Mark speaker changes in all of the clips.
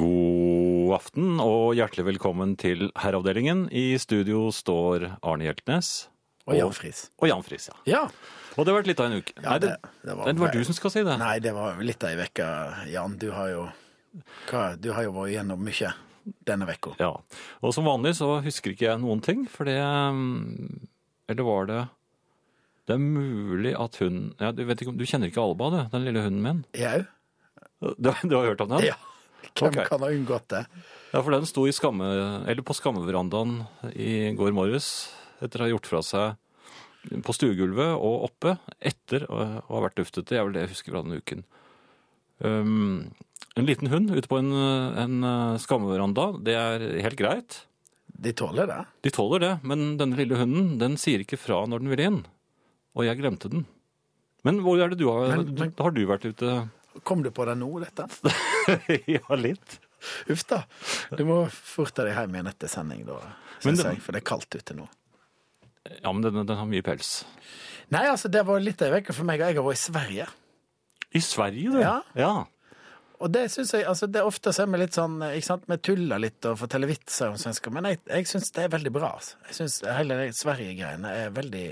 Speaker 1: God aften og hjertelig velkommen til Herreavdelingen. I studio står Arne Hjeltnes
Speaker 2: Og Jan Friis.
Speaker 1: og Jan Friis. Ja.
Speaker 2: Ja.
Speaker 1: Og det har vært litt av en uke. Nei, det,
Speaker 2: det-
Speaker 1: det,
Speaker 2: det var
Speaker 1: var,
Speaker 2: feil.
Speaker 1: du som skal si det.
Speaker 2: Nei, det var jo litt av ei uke, Jan. Du har jo hva, Du har jo vært gjennom mye denne uka.
Speaker 1: Ja. Og som vanlig så husker ikke jeg noen ting, for det um, Eller var det Det er mulig at hun ja, du, vet ikke, om- du kjenner ikke Alba, du? Den lille hunden min?
Speaker 2: Jeg òg?
Speaker 1: Du, du har hørt om den?
Speaker 2: Ja. Hvem
Speaker 1: Ok.
Speaker 2: kan ha unngått det?
Speaker 1: Ja, for den sto i skamme, eller på skammeverandaen i går morges etter å ha gjort fra seg på stuegulvet og oppe etter å å ha vært duftete. Det er vel det jeg husker fra den uken. Um, en liten hund ute på en, en eh, skammeveranda, det er helt greit.
Speaker 2: De tåler det.
Speaker 1: De tåler det, men denne lille hunden den sier ikke fra når den vil inn. Og jeg glemte den. Men hvor er det du har,
Speaker 2: Men- men-
Speaker 1: har du vært ute?
Speaker 2: Kom du på det nå, dette?
Speaker 1: ja, litt.
Speaker 2: Uff da. Du må forte deg hjem igjen etter sending, da,
Speaker 1: Men
Speaker 2: syns
Speaker 1: det-
Speaker 2: jeg. For det er kaldt ute nå.
Speaker 1: Ja, men den, den har mye pels.
Speaker 2: Nei, altså, det var litt av ei uke for meg, og jeg har vært i Sverige.
Speaker 1: I Sverige, du?
Speaker 2: Ja.
Speaker 1: ja.
Speaker 2: Og det synes jeg, altså det er ofte så er vi litt sånn, ikke sant, vi tuller litt og forteller vitser om svensker, men jeg, jeg synes det er veldig bra. altså. Jeg synes hele det Sverige-greiene er veldig,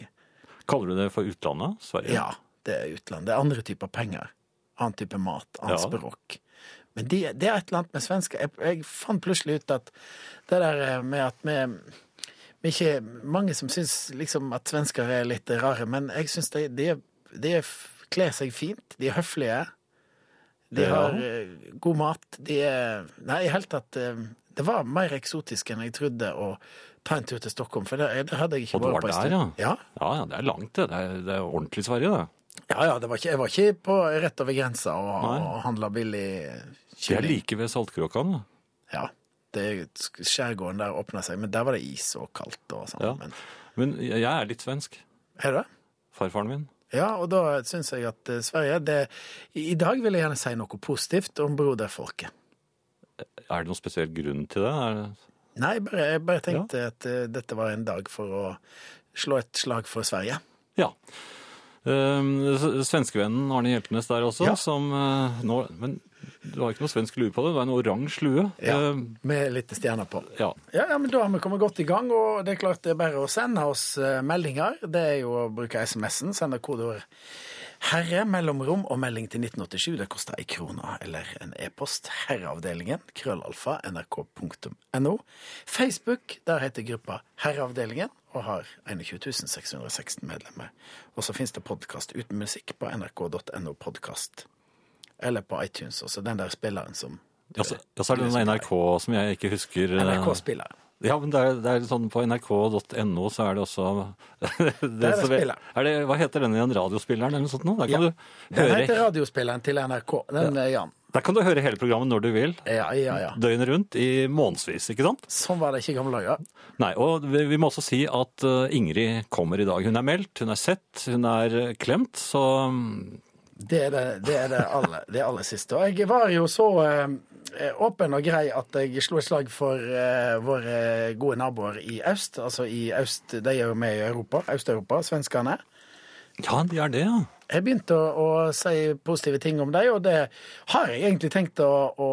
Speaker 1: Kaller du det for utlandet? Sverige?
Speaker 2: ja, det er utland. Det er andre typer penger, annen type mat, annen
Speaker 1: Ja.
Speaker 2: språk. Men de, det er et eller annet med svensker. Jeg, jeg fant plutselig ut at det der eh, med at vi, vi ikke, mange som synes liksom at svensker er litt rare, men jeg synes de, de, de kler seg fint, de er høflige. De
Speaker 1: Ja.
Speaker 2: har eh, god mat. De er Nei, i hele tatt eh, Det var mer eksotisk enn jeg trodde å ta en tur til Stockholm, for det, det hadde jeg ikke
Speaker 1: Og du var
Speaker 2: en
Speaker 1: der,
Speaker 2: stund.
Speaker 1: ja? Ja, ja, det er langt, det. Det er, det er ordentlig Sverige, det.
Speaker 2: ja? Ja, ja. Det var ikke, jeg var ikke på rett over grensa og,
Speaker 1: Nei.
Speaker 2: og handla billig
Speaker 1: Det er
Speaker 2: kylling.
Speaker 1: like ved Saltkråkan. det.
Speaker 2: Ja. Det, skjærgården der åpna seg, men der var det is og kaldt og sånn.
Speaker 1: Ja.
Speaker 2: Men
Speaker 1: Men jeg er litt svensk.
Speaker 2: er det?
Speaker 1: Farfaren min.
Speaker 2: Ja, og da syns jeg at eh, Sverige det, I i dag vil jeg gjerne si noe positivt om broderfolket.
Speaker 1: Er det noen spesiell grunn til det? Er det...
Speaker 2: Nei, bare, jeg bare tenkte at eh, dette var en dag for å slå et slag for Sverige.
Speaker 1: Ja. Ehm, s- Svenskevennen Arne Hjeltnes der også,
Speaker 2: Ja.
Speaker 1: som eh, nå Men du har ikke noe svensk lue på det, det er en oransje lue.
Speaker 2: Ja,
Speaker 1: Ehm,
Speaker 2: Med litt stjerner på.
Speaker 1: ja.
Speaker 2: Ja, ja, men Da har vi kommet godt i gang, og det er klart det er bare å sende oss eh, meldinger. Det er jo å bruke SMS-en. Sende kodeord 'herre', mellomrom og melding til 1987. Det koster ei krone. Eller en e-post. Herreavdelingen. Krøllalfa. NRK.no. Facebook. Der heter gruppa Herreavdelingen og har 21 616 medlemmer. Og så fins det podkast uten musikk på nrk.no podkast. Eller på iTunes også. Den der spilleren som
Speaker 1: Ja, så, ja, så er det den NRK som jeg ikke husker eh,
Speaker 2: NRK-spilleren.
Speaker 1: Ja, men det er, det er sånn på nrk.no så er det også det,
Speaker 2: er
Speaker 1: som-
Speaker 2: spilleren.
Speaker 1: Er det, hva heter den igjen? Radiospilleren eller noe sånt? nå? Der kan,
Speaker 2: Ja.
Speaker 1: du
Speaker 2: Den
Speaker 1: høre,
Speaker 2: heter Radiospilleren til NRK. Den er Jan.
Speaker 1: der kan du høre hele programmet når du vil,
Speaker 2: Ja, ja, ja.
Speaker 1: døgnet rundt, i månedsvis, ikke sant?
Speaker 2: Sånn var det ikke i gamle dager.
Speaker 1: Nei, og vi, vi må også si at eh, Ingrid kommer i dag. Hun er meldt, hun er sett, hun er eh, klemt, så mm,
Speaker 2: Det er det, det, er det, aller, det aller siste. Og jeg var jo så eh, åpen og grei at jeg slo et slag for eh, våre gode naboer i øst. Altså i øst, de er jo med i Europa, Øst-Europa, svenskene.
Speaker 1: Ja, de er det, ja.
Speaker 2: Jeg begynte å, å si positive ting om dem, og det har jeg egentlig tenkt å, å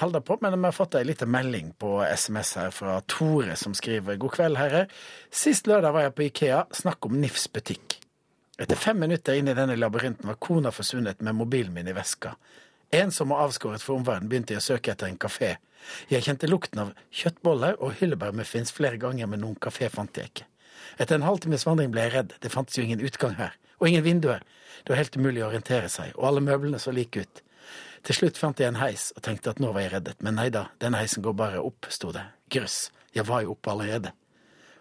Speaker 2: holde på, men vi har fått ei lita melding på SMS her fra Tore, som skriver God kveld, herrer. Sist lørdag var jeg på Ikea. Snakk om NIFs butikk. Etter fem minutter inn i denne labyrinten var kona forsvunnet med mobilen min i veska. Ensom og avskåret for omverdenen begynte jeg å søke etter en kafé. Jeg kjente lukten av kjøttboller og hyllebærmuffins flere ganger, men noen kafé fant jeg ikke. Etter en halvtimes vandring ble jeg redd. Det fantes jo ingen utgang her. Og ingen vinduer. Det var helt umulig å orientere seg, og alle møblene så like ut. Til slutt fant jeg en heis og tenkte at nå var jeg reddet, men nei da, denne heisen går bare opp, sto det. Grøss. Jeg var jo oppe allerede.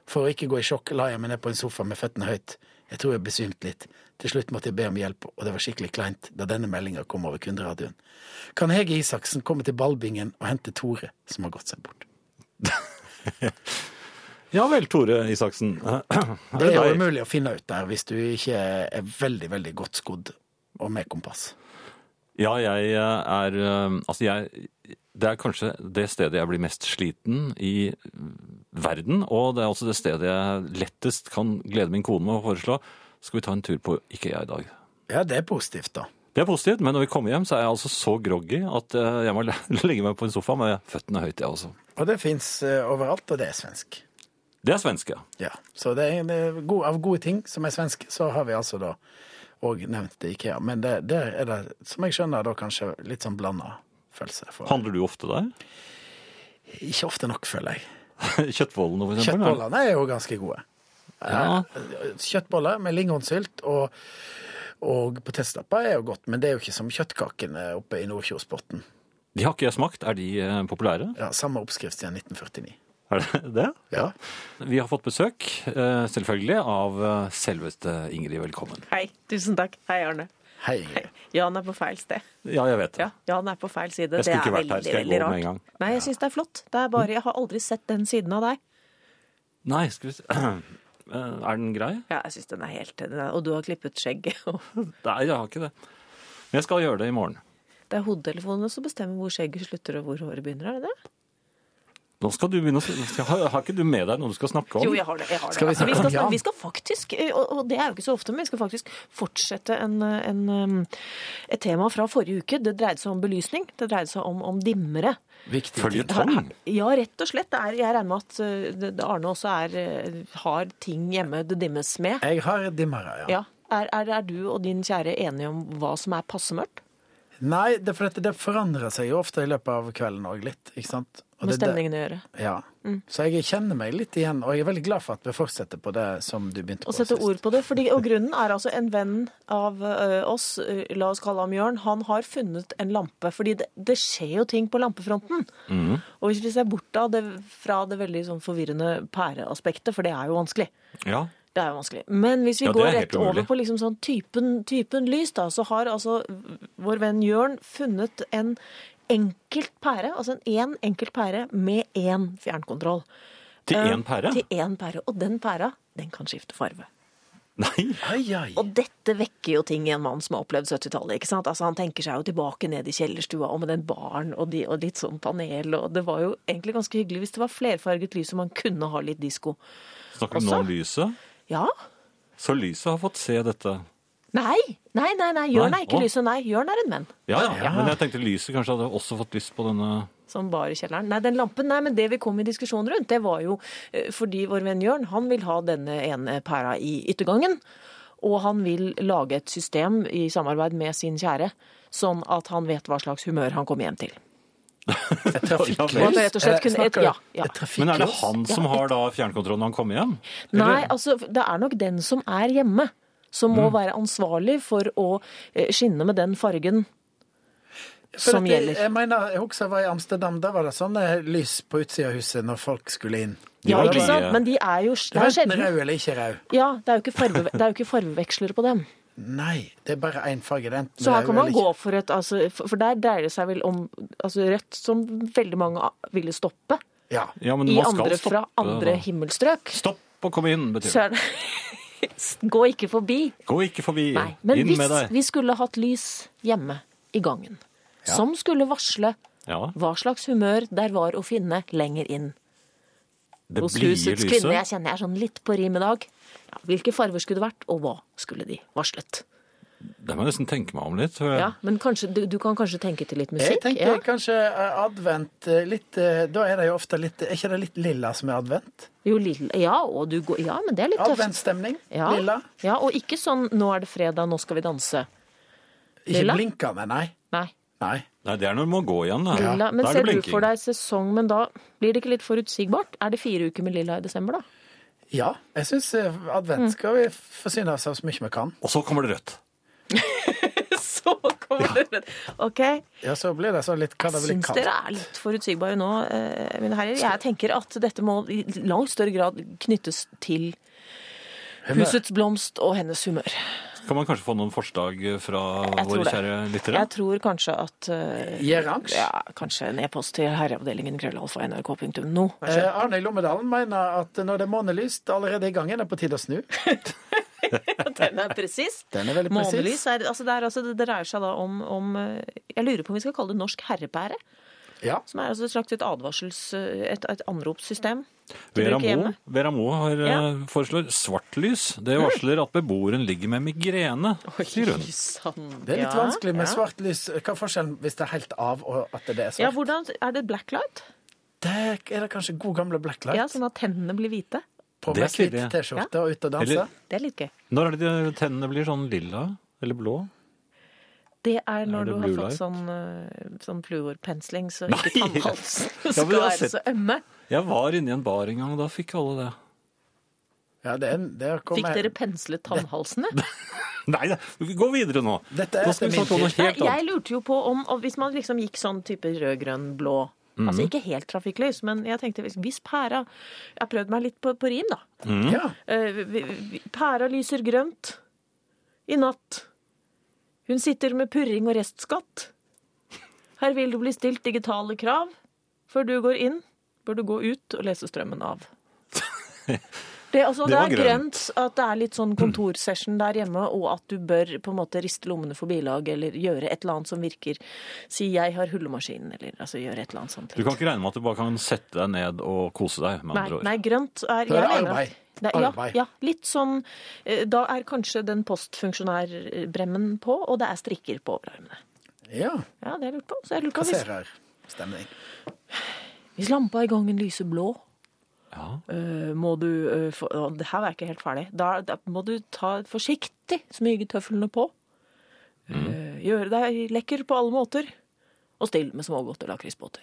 Speaker 2: For å ikke gå i sjokk la jeg meg ned på en sofa med føttene høyt. Jeg tror jeg besvimte litt. Til slutt måtte jeg be om hjelp, og det var skikkelig kleint da denne meldinga kom over kunderadioen. Kan Hege Isaksen komme til ballbingen og hente Tore, som har gått seg bort?
Speaker 1: Ja vel, Tore Isaksen. Er
Speaker 2: Det er jo
Speaker 1: deg?
Speaker 2: umulig å finne ut der hvis du ikke er veldig, veldig godt skodd og med kompass.
Speaker 1: Ja, jeg eh, er eh, Altså, jeg Det er kanskje det stedet jeg blir mest sliten i mm, verden, og det er også det stedet jeg lettest kan glede min kone med å foreslå. Skal vi ta en tur på IKEA i dag?
Speaker 2: Ja, det er positivt, da.
Speaker 1: Det er positivt, men når vi kommer hjem, så er jeg altså så groggy at eh, jeg må le- legge meg på en sofa med føttene høyt, jeg også.
Speaker 2: Og det fins overalt, og det er svensk.
Speaker 1: Det er svenske.
Speaker 2: Ja, så det er, det er god, Av gode ting som er svensk, så har vi altså da òg nevnt Ikea. Men det, der er det, som jeg skjønner, da kanskje litt sånn blanda følelse. For.
Speaker 1: Handler du ofte der?
Speaker 2: Ikke ofte nok, føler jeg.
Speaker 1: Kjøttbollene, for eksempel? eller?
Speaker 2: Kjøttbollene er jo ganske gode.
Speaker 1: Ja.
Speaker 2: Kjøttboller med lingonsylt og, og potetstapper er jo godt, men det er jo ikke som kjøttkakene oppe i Nordkjosbotn.
Speaker 1: De har ikke jeg smakt. Er de eh, populære?
Speaker 2: Ja, samme oppskrift siden 1949.
Speaker 1: Er det det?
Speaker 2: Ja.
Speaker 1: Vi har fått besøk, eh, selvfølgelig, av eh, selveste Ingrid. Velkommen.
Speaker 3: Hei. Tusen takk. Hei, Arne.
Speaker 2: Hei.
Speaker 3: Hei. Jan er på feil sted.
Speaker 1: Ja, jeg vet det.
Speaker 3: Ja, Jan er på feil side.
Speaker 1: Jeg
Speaker 3: Det
Speaker 1: skulle
Speaker 3: er
Speaker 1: ikke vært her.
Speaker 3: veldig,
Speaker 1: Skal jeg
Speaker 3: veldig
Speaker 1: gå med en gang?
Speaker 3: rart. Nei, jeg syns det er flott. Det er bare, Jeg har aldri sett den siden av deg.
Speaker 1: Nei, skal vi se Eh, Er den grei?
Speaker 3: Ja, jeg synes den er helt den er, Og du har klippet skjegget. og
Speaker 1: Nei, jeg har ikke det. Men jeg skal gjøre det i morgen.
Speaker 3: Det er hodetelefonene som bestemmer hvor skjegget slutter og hvor håret begynner, er det det?
Speaker 1: Nå skal du begynne å s- Har, har ikke du med deg noe du skal snakke om?
Speaker 3: Jo, jeg har det. Jeg har det.
Speaker 2: Skal vi
Speaker 3: Altså,
Speaker 2: snakke om
Speaker 3: snak-
Speaker 2: Jan?
Speaker 3: vi skal faktisk, og og det er jo ikke så ofte, men vi skal faktisk fortsette en, en, um, et tema fra forrige uke. Det dreide seg om belysning. Det dreide seg om, om dimmere.
Speaker 2: Viktig.
Speaker 1: Følger
Speaker 2: ting.
Speaker 1: tong?
Speaker 3: Ja, rett og slett. Det er, jeg regner med at eh, det- det- Arne også er, eh, har ting hjemme det dimmes med.
Speaker 2: Jeg har dimmere, ja.
Speaker 3: Ja. Er, er, er du og din kjære enige om hva som er passe mørkt?
Speaker 2: Nei, det, er fordi at det forandrer seg jo ofte i løpet av kvelden òg litt, ikke sant. Og
Speaker 3: Med
Speaker 2: det er det-
Speaker 3: stemningen å gjøre.
Speaker 2: Ja.
Speaker 3: Mm.
Speaker 2: Så jeg kjenner meg litt igjen, og jeg er veldig glad for at vi fortsetter på det som du begynte på
Speaker 3: Å sette
Speaker 2: sist.
Speaker 3: ord på det. Fordi, og grunnen er altså en venn av eh, oss, eh, la oss kalle ham Jørn, han har funnet en lampe. Fordi det, det skjer jo ting på lampefronten.
Speaker 2: Mhm.
Speaker 3: Og hvis vi ser bort av det, fra det veldig sånn forvirrende pæreaspektet, for det er jo vanskelig.
Speaker 1: Ja.
Speaker 3: Det er jo vanskelig. Men hvis vi
Speaker 1: Ja, det
Speaker 3: går
Speaker 1: er helt
Speaker 3: rett over
Speaker 1: umulig.
Speaker 3: på liksom sånn typen, typen lys, da, så har altså vår venn Jørn funnet en enkelt pære, altså en én enkelt pære med én fjernkontroll.
Speaker 1: Til
Speaker 3: Eh,
Speaker 1: én pære?
Speaker 3: Til én pære. Og den pæra, den kan skifte farve.
Speaker 1: Nei.
Speaker 2: Ai, ai.
Speaker 3: Og dette vekker jo ting i en mann som har opplevd 70-tallet. ikke sant? Altså Han tenker seg jo tilbake ned i kjellerstua og med den baren og, de, og litt sånn panel. og Det var jo egentlig ganske hyggelig hvis det var flerfarget lys og man kunne ha litt disko.
Speaker 1: Snakker du nå
Speaker 3: Også?
Speaker 1: om lyset?
Speaker 3: Ja,
Speaker 1: Så lyset har fått se dette.
Speaker 3: Nei, nei, nei, nei. Jørn
Speaker 1: Nei,
Speaker 3: er ikke
Speaker 1: å.
Speaker 3: lyset, nei. Jørn er en menn.
Speaker 1: Ja, ja, Men jeg tenkte lyset kanskje hadde også fått lyst på denne
Speaker 3: Som bar i kjelleren. Nei, den lampen, nei, men det vi kom i diskusjon rundt, det var jo eh, fordi vår venn Jørn, han vil ha denne ene pæra i yttergangen. Og han vil lage et system i samarbeid med sin kjære, sånn at han vet hva slags humør han kommer hjem til.
Speaker 2: Et trafikklys?
Speaker 1: Ja,
Speaker 3: men rett og slett kunne-
Speaker 2: Eh, snakker
Speaker 3: et- ja,
Speaker 2: du-
Speaker 3: ja.
Speaker 2: Et trafikklys?
Speaker 1: Men er det han som har da fjernkontrollen når han kommer hjem?
Speaker 3: Nei, altså, det er nok den som er hjemme, som må være ansvarlig for å eh, skinne med den fargen
Speaker 2: For
Speaker 3: som
Speaker 2: at jeg-
Speaker 3: gjelder.
Speaker 2: Jeg mener, jeg husker jeg var i Amsterdam, da var det sånne lys på utsida av huset når folk skulle inn.
Speaker 1: De
Speaker 3: Ja,
Speaker 1: var
Speaker 3: ikke
Speaker 1: blide.
Speaker 3: sant? Men de er jo
Speaker 2: Det
Speaker 3: det
Speaker 2: var
Speaker 3: er
Speaker 2: enten
Speaker 3: sjelden.
Speaker 2: rød eller ikke rød.
Speaker 3: Ja, det er jo ikke, farve, det er jo ikke farvevekslere på dem.
Speaker 2: Nei, det er bare én farge. Det er enten
Speaker 3: Så her
Speaker 2: rød
Speaker 3: kan man
Speaker 2: eller
Speaker 3: gå
Speaker 2: ikke.
Speaker 3: for et altså, For for der dreier det seg vel om altså, rødt, som veldig mange ville stoppe.
Speaker 2: Ja.
Speaker 1: Ja, men
Speaker 3: I
Speaker 1: man skal
Speaker 3: andre fra
Speaker 1: stoppe,
Speaker 3: andre
Speaker 1: da.
Speaker 3: himmelstrøk.
Speaker 1: Stopp og kom inn, betyr det.
Speaker 3: Så er det Gå ikke forbi.
Speaker 1: Gå ikke forbi.
Speaker 3: Nei. Men
Speaker 1: inn med
Speaker 3: hvis
Speaker 1: deg.
Speaker 3: vi skulle hatt lys hjemme i gangen, som skulle varsle
Speaker 1: Ja,
Speaker 3: hva slags humør der var å finne lenger inn
Speaker 1: det
Speaker 3: hos
Speaker 1: blide
Speaker 3: husets kvinne. Jeg kjenner jeg er sånn litt på rim i dag. Ja, hvilke farver skulle det vært, og hva skulle de varslet?
Speaker 1: Det må jeg nesten tenke meg om litt. tror jeg.
Speaker 3: Ja, men kanskje, du, du kan kanskje tenke til litt
Speaker 2: Jeg
Speaker 3: musikk?
Speaker 2: tenker
Speaker 3: ja.
Speaker 2: kanskje eh, advent eh, litt eh, Da er det jo ofte litt Er ikke det litt lilla som er advent?
Speaker 3: Jo, lille, ja, og du går, ja, men det er litt tøft.
Speaker 2: Adventstemning?
Speaker 3: Ja.
Speaker 2: Lilla?
Speaker 3: ja, og ikke sånn 'nå er det fredag, nå skal vi danse'.
Speaker 2: Ikke
Speaker 3: Lilla?
Speaker 2: blinkende, nei.
Speaker 3: Nei.
Speaker 2: Nei.
Speaker 1: Nei, det er når du må gå igjen, da.
Speaker 3: Lilla. Men
Speaker 1: da er
Speaker 3: ser
Speaker 1: det
Speaker 3: du
Speaker 1: blinking.
Speaker 3: for deg sesong, men da blir det ikke litt forutsigbart? Er det fire uker med lilla i desember, da?
Speaker 2: Ja, jeg syns
Speaker 3: Mm.
Speaker 2: advent skal vi forsyne oss av så mye vi kan.
Speaker 1: Og så kommer det rødt.
Speaker 3: Så kommer det redd. OK.
Speaker 2: Ja, så blir det sånn litt Kan det bli
Speaker 3: Syns
Speaker 2: kaldt?
Speaker 3: dere er litt forutsigbare nå, eh, mine herrer? Jeg tenker at dette må i langt større grad knyttes til husets blomst og hennes humør.
Speaker 1: Kan man kanskje få noen forslag eh, fra
Speaker 3: Jeg tror
Speaker 1: våre
Speaker 3: det.
Speaker 1: kjære lyttere?
Speaker 3: Jeg tror kanskje at eh,
Speaker 2: Gjerange?
Speaker 3: ja, Kanskje en e-post til herreavdelingen krøllalfa nrk.no.
Speaker 2: Eh, Arne i Lommedalen mener at når det er månelyst allerede i gangen, er det på tide å snu.
Speaker 3: Den er presis.
Speaker 2: Den er veldig presis.
Speaker 3: Månelys er, altså det, er, altså, det dreier seg da om, om eh, Jeg lurer på om vi skal kalle det norsk herrepære.
Speaker 2: Ja.
Speaker 3: Som er altså et slags et advarsels... eh, Et, et anropssystem. til
Speaker 1: Vera
Speaker 3: bruk i
Speaker 1: Moe,
Speaker 3: hjemmet.
Speaker 1: Vera Moe har,
Speaker 3: Ja. Mm.
Speaker 1: eh, foreslår svart lys. Det varsler at beboeren ligger med migrene, sier hun.
Speaker 3: Oi, sann,
Speaker 2: Det er litt
Speaker 3: ja,
Speaker 2: vanskelig med
Speaker 3: ja.
Speaker 2: svart lys. Hva er forskjellen hvis det er helt av og at det er
Speaker 3: Ja,
Speaker 2: svart?
Speaker 3: hvordan, Er det blacklight?
Speaker 2: Der er det kanskje god gamle blacklight
Speaker 3: Ja, Sånn at tennene blir hvite?
Speaker 2: på
Speaker 1: Det er
Speaker 2: med slitt
Speaker 1: tidlig.
Speaker 2: T-skjorte og ute og danse.
Speaker 1: Eller-
Speaker 3: Det er litt gøy.
Speaker 1: Når er det de tennene blir sånn lilla eller blå?
Speaker 3: Det er når
Speaker 1: det
Speaker 3: du har
Speaker 1: blue
Speaker 3: fått
Speaker 1: light?
Speaker 3: sånn, eh, sånn fluorpensling, så
Speaker 1: Nei!
Speaker 3: ikke tannhalsen
Speaker 1: Ja,
Speaker 3: skal
Speaker 1: men jeg har
Speaker 3: være
Speaker 1: sett-
Speaker 3: så ømme.
Speaker 1: Jeg var inne i en bar en gang, og da fikk alle det.
Speaker 2: Ja, det er, det er
Speaker 3: Fikk dere penslet tannhalsene?
Speaker 1: Nei, da, gå videre nå.
Speaker 2: Dette er
Speaker 1: nå skal vi
Speaker 2: etter
Speaker 1: snakke om
Speaker 2: min
Speaker 1: noe
Speaker 2: tid.
Speaker 3: Nei,
Speaker 1: helt
Speaker 3: jeg
Speaker 1: annet.
Speaker 3: lurte jo på om og Hvis man liksom gikk sånn type rød, grønn, blå Altså
Speaker 1: Mhm.
Speaker 3: ikke helt trafikklys, men jeg tenkte hvis- hvis pæra Jeg har prøvd meg litt på, på rim, da.
Speaker 1: Mm.
Speaker 2: Ja.
Speaker 3: Eh, vi- vi- Pæra lyser grønt i natt. Hun sitter med purring og restskatt. Her vil du bli stilt digitale krav. Før du går inn, bør du gå ut og lese strømmen av. Det, altså, det,
Speaker 1: Det var
Speaker 3: er grønt at det er litt sånn kontorsession der hjemme, og at du bør på en måte riste lommene for bilag, eller gjøre et eller annet som virker. Si 'jeg har hullemaskinen', eller altså gjøre et eller annet sånt.
Speaker 1: Du kan ikke regne med at du bare kan sette deg ned og kose deg, med
Speaker 3: Nei,
Speaker 1: andre ord.
Speaker 3: nei, grønt er,
Speaker 2: Da er
Speaker 3: jeg
Speaker 2: det
Speaker 3: mener at-
Speaker 2: arbeid.
Speaker 3: Det, er- ja,
Speaker 2: Arbeid.
Speaker 3: ja, litt sånn eh, Da er kanskje den postfunksjonærbremmen på, og det er strikker på overarmene.
Speaker 2: ja.
Speaker 3: Ja, det har jeg lurt på. Så jeg lurer på hvis,
Speaker 2: Kassererstemning.
Speaker 3: hvis lampa i gangen lyser blå,
Speaker 1: Ja.
Speaker 3: eh, må du eh, få å, Det her er ikke helt ferdig. Da, da må du ta forsiktig smyge tøflene på. Eh, gjøre deg lekker på alle måter. Og still med smågodt og lakrisbåter.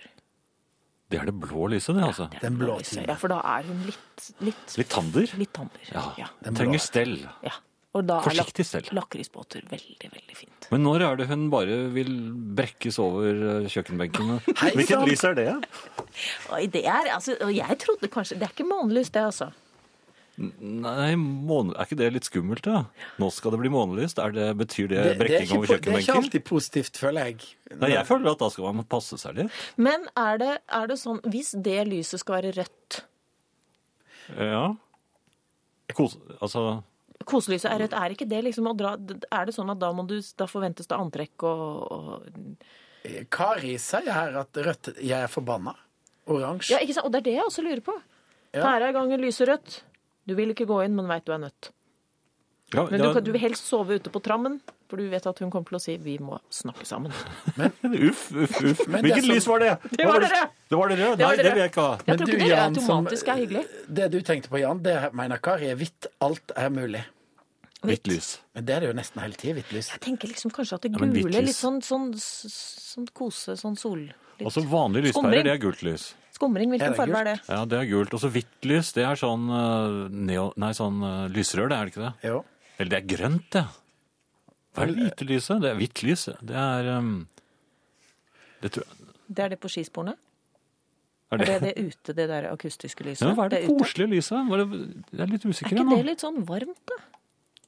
Speaker 1: Det er det blå lyset, det, altså.
Speaker 3: Det er
Speaker 2: Den blå
Speaker 3: lyset.
Speaker 2: timen.
Speaker 3: Ja, for da er hun litt Litt,
Speaker 1: Litt tander.
Speaker 3: litt tander.
Speaker 1: Ja.
Speaker 3: ja.
Speaker 2: Den blå.
Speaker 1: Trenger stell.
Speaker 3: Ja. Og da
Speaker 1: Forsiktig
Speaker 3: er
Speaker 1: stell.
Speaker 3: lak lakrisbåter veldig, veldig fint.
Speaker 1: Men når er det hun bare vil brekkes over eh, kjøkkenbenken? Hvilket
Speaker 2: sant.
Speaker 1: lys er det?
Speaker 3: Oi, det er, altså, og jeg trodde kanskje Det er ikke månelys, det, altså.
Speaker 1: Nei, måne, Er ikke det litt skummelt, da? Nå skal det bli månelyst. Er det, betyr det,
Speaker 2: Det, det, er
Speaker 1: brekking
Speaker 2: ikke,
Speaker 1: over
Speaker 2: po- det er ikke
Speaker 1: kjøkkenbenken?
Speaker 2: alltid positivt, føler jeg.
Speaker 1: Nei, jeg føler at da skal man passe seg litt.
Speaker 3: Men er det, er det sånn Hvis det lyset skal være rødt
Speaker 1: Ja. Kos, altså
Speaker 3: Koselyset er rødt, er ikke det liksom å dra Er det sånn at da, må du, da forventes det antrekk og, og
Speaker 2: Eh, Kari sier her at rødt Jeg er forbanna. Oransje.
Speaker 3: Ja, ikke sant? Og det er det jeg også lurer på.
Speaker 2: Ja.
Speaker 3: Pæra i gangen lyser rødt. Du vil ikke gå inn, men veit du er nødt.
Speaker 1: ja,
Speaker 3: Men
Speaker 1: ja,
Speaker 3: du, kan, du vil helst sove ute på trammen, for du vet at hun kommer til å si 'vi må snakke sammen'.
Speaker 1: Uff, uff, uff.
Speaker 2: Men det
Speaker 1: Hvilket
Speaker 2: som-
Speaker 1: lys var det?
Speaker 3: sånn- Det var det røde.
Speaker 1: Det var det røde?
Speaker 3: Det
Speaker 1: Nei,
Speaker 3: var
Speaker 1: det vil
Speaker 3: det røde.
Speaker 1: jeg ikke ha.
Speaker 3: Jeg tror
Speaker 2: du,
Speaker 3: ikke det
Speaker 2: Jan, som-
Speaker 3: automatisk er hyggelig.
Speaker 2: Det du tenkte på, Jan, det mener Kari er hvitt. Alt er mulig.
Speaker 1: Hvitt lys.
Speaker 2: Men det er det jo nesten hele tida, hvitt lys.
Speaker 3: Jeg tenker liksom kanskje at det
Speaker 1: Ja, men
Speaker 3: gule,
Speaker 1: hvitt lys.
Speaker 3: litt sånn, sånn, sånn kose, sånn sol litt.
Speaker 1: Altså vanlige lyspærer,
Speaker 3: Skumring.
Speaker 1: det er gult lys.
Speaker 3: Skumring,
Speaker 2: Er
Speaker 3: hvilken
Speaker 2: det
Speaker 3: farge er det?
Speaker 1: Ja, det er gult. Og så hvitt lys, det er sånn eh, neo... Nei, sånn eh, lysrør, det er det ikke det?
Speaker 2: Jo.
Speaker 1: Eller det er grønt, det. Hva er
Speaker 3: eh,
Speaker 1: det hvite lyset? Det er hvitt lys. Det er ehm, Det tror jeg
Speaker 3: Det er det på skisporene?
Speaker 1: Er
Speaker 3: Er
Speaker 1: det
Speaker 3: det det ute, det der akustiske lyset?
Speaker 1: ja, men Hva er det
Speaker 3: Det ute?
Speaker 1: koselige lyset? Var det... Jeg er litt
Speaker 3: Er
Speaker 1: usikker
Speaker 3: ikke
Speaker 1: jeg, nå.
Speaker 3: det litt sånn varmt, da?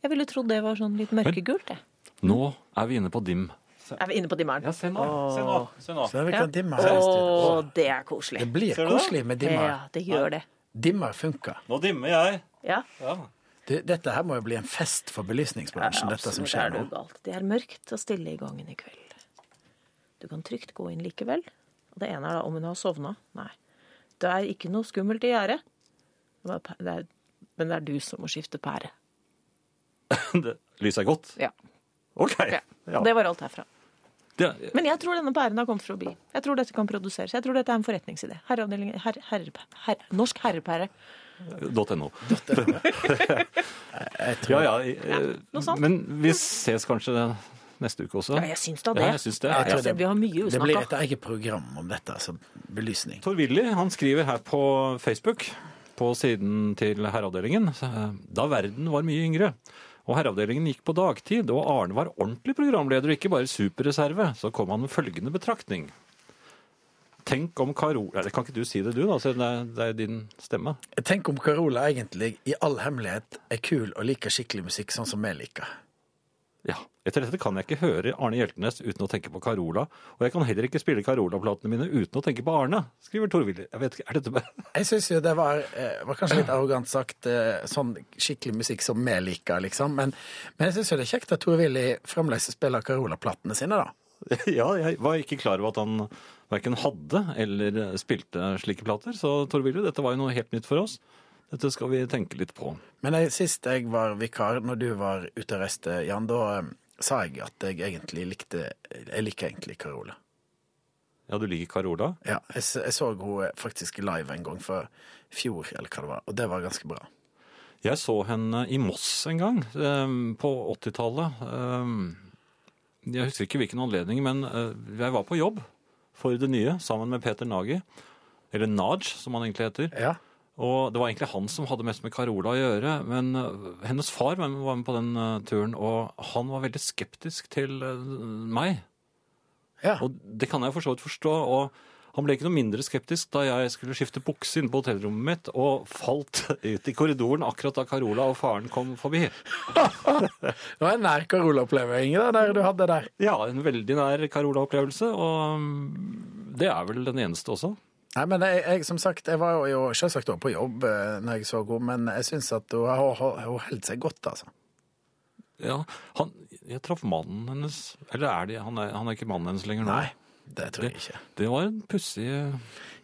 Speaker 3: Jeg ville trodd det var sånn litt mørkegult, jeg.
Speaker 1: Nå er vi inne på dim.
Speaker 3: Er vi inne på dimmeren?
Speaker 1: se nå. Se nå. Se nå.
Speaker 2: Så vi
Speaker 3: Ja.
Speaker 2: kan dimme her i studio.
Speaker 3: Å, det er koselig.
Speaker 2: Det blir
Speaker 1: Ser du det?
Speaker 2: koselig med dimmer.
Speaker 3: Ja, det gjør det.
Speaker 2: Dimmer funker.
Speaker 1: Nå dimmer jeg.
Speaker 3: Ja,
Speaker 1: Ja.
Speaker 2: Du, dette her må jo bli en fest for belysningsbransjen, dette som
Speaker 3: absolutt
Speaker 2: skjer
Speaker 3: er det
Speaker 2: nå.
Speaker 3: jo galt. Det er mørkt og stille i gangen i kveld. Du kan trygt gå inn likevel. Og det ene er da om hun har sovna. Nei. Det er ikke noe skummelt i gjerdet. Det er pæ- det er- Men det er du som må skifte pære.
Speaker 1: Det- Lyset er godt?
Speaker 3: Ja.
Speaker 1: OK. Ja.
Speaker 3: Det var alt herfra.
Speaker 1: Det-
Speaker 3: Men jeg tror denne pæren har kommet fra bi. Jeg tror dette kan produseres. Jeg tror dette er en forretningsidé. Herreavdelingen herre, herre, herre, Norsk herrepære.
Speaker 1: .no.
Speaker 2: Jeg tror,
Speaker 1: Ja, ja. eh,
Speaker 3: noe sånt.
Speaker 1: Men vi ses kanskje den neste uke også.
Speaker 3: Ja, jeg syns da det.
Speaker 1: Ja, jeg syns det.
Speaker 2: Jeg tror
Speaker 3: Altså, vi har mye
Speaker 2: Det blir et
Speaker 3: usnakka.
Speaker 2: eget program om dette, altså belysning.
Speaker 1: Tor Willy han skriver her på Facebook, på siden til Herreavdelingen, eh, da verden var mye yngre. Og Herreavdelingen gikk på dagtid, og Arne var ordentlig programleder og ikke bare superreserve. Så kom han med følgende betraktning. Tenk om Karo... Nei, Kan ikke du si det du, da? siden Det er, det er din stemme.
Speaker 2: Tenk om Carola egentlig i all hemmelighet er kul og liker skikkelig musikk sånn som vi liker.
Speaker 1: Ja. Etter dette kan jeg ikke høre Arne Hjeltnes uten å tenke på Carola. Og jeg kan heller ikke spille Carola-platene mine uten å tenke på Arne, skriver Tor Willy. Jeg vet ikke, er dette bare
Speaker 2: Jeg syns jo det var, eh, var kanskje litt arrogant sagt, eh, sånn skikkelig musikk som vi liker, liksom. Men, men jeg syns jo det er kjekt at Tor Willy fremdeles spiller Carola-platene sine, da.
Speaker 1: Ja, jeg var ikke klar over at han verken hadde eller spilte slike plater. Så Torvilde, dette var jo noe helt nytt for oss. Dette skal vi tenke litt på.
Speaker 2: Men jeg, sist jeg var vikar, når du var ute og reiste, Jan, da eh, sa jeg at jeg egentlig likte Jeg liker egentlig Carola.
Speaker 1: Ja, du liker Carola?
Speaker 2: Ja, jeg, s- jeg så henne faktisk live en gang for fjor, eller hva det var, og det var ganske bra.
Speaker 1: Jeg så henne i Moss en gang, eh, på 80-tallet. Eh, Jeg husker ikke hvilken anledning, men eh, jeg var på jobb for det nye sammen med Peter Nagi. Eller Naj, som han egentlig heter.
Speaker 2: Ja.
Speaker 1: Og det var egentlig han som hadde mest med Carola å gjøre, men øh, hennes far var med var med på den øh, turen, og han var veldig skeptisk til øh, meg.
Speaker 2: ja.
Speaker 1: Og det kan jeg for så vidt forstå, og han ble ikke noe mindre skeptisk da jeg skulle skifte bukse inne på hotellrommet mitt, og falt ut i korridoren akkurat da Carola og faren kom forbi.
Speaker 2: Det var en nær Carola-oppleving det der du hadde der.
Speaker 1: Ja, en veldig nær Carola-opplevelse, og øh, det er vel den eneste også.
Speaker 2: Nei, men jeg, jeg, som sagt, jeg var jo selvsagt også på jobb eh, når jeg så henne, men jeg syns at hun har hun- hun holdt seg godt, altså.
Speaker 1: Ja, han, jeg traff mannen hennes, eller er det, han er, han er ikke mannen hennes lenger nå.
Speaker 2: Nei, det tror jeg ikke.
Speaker 1: Det var en pussig...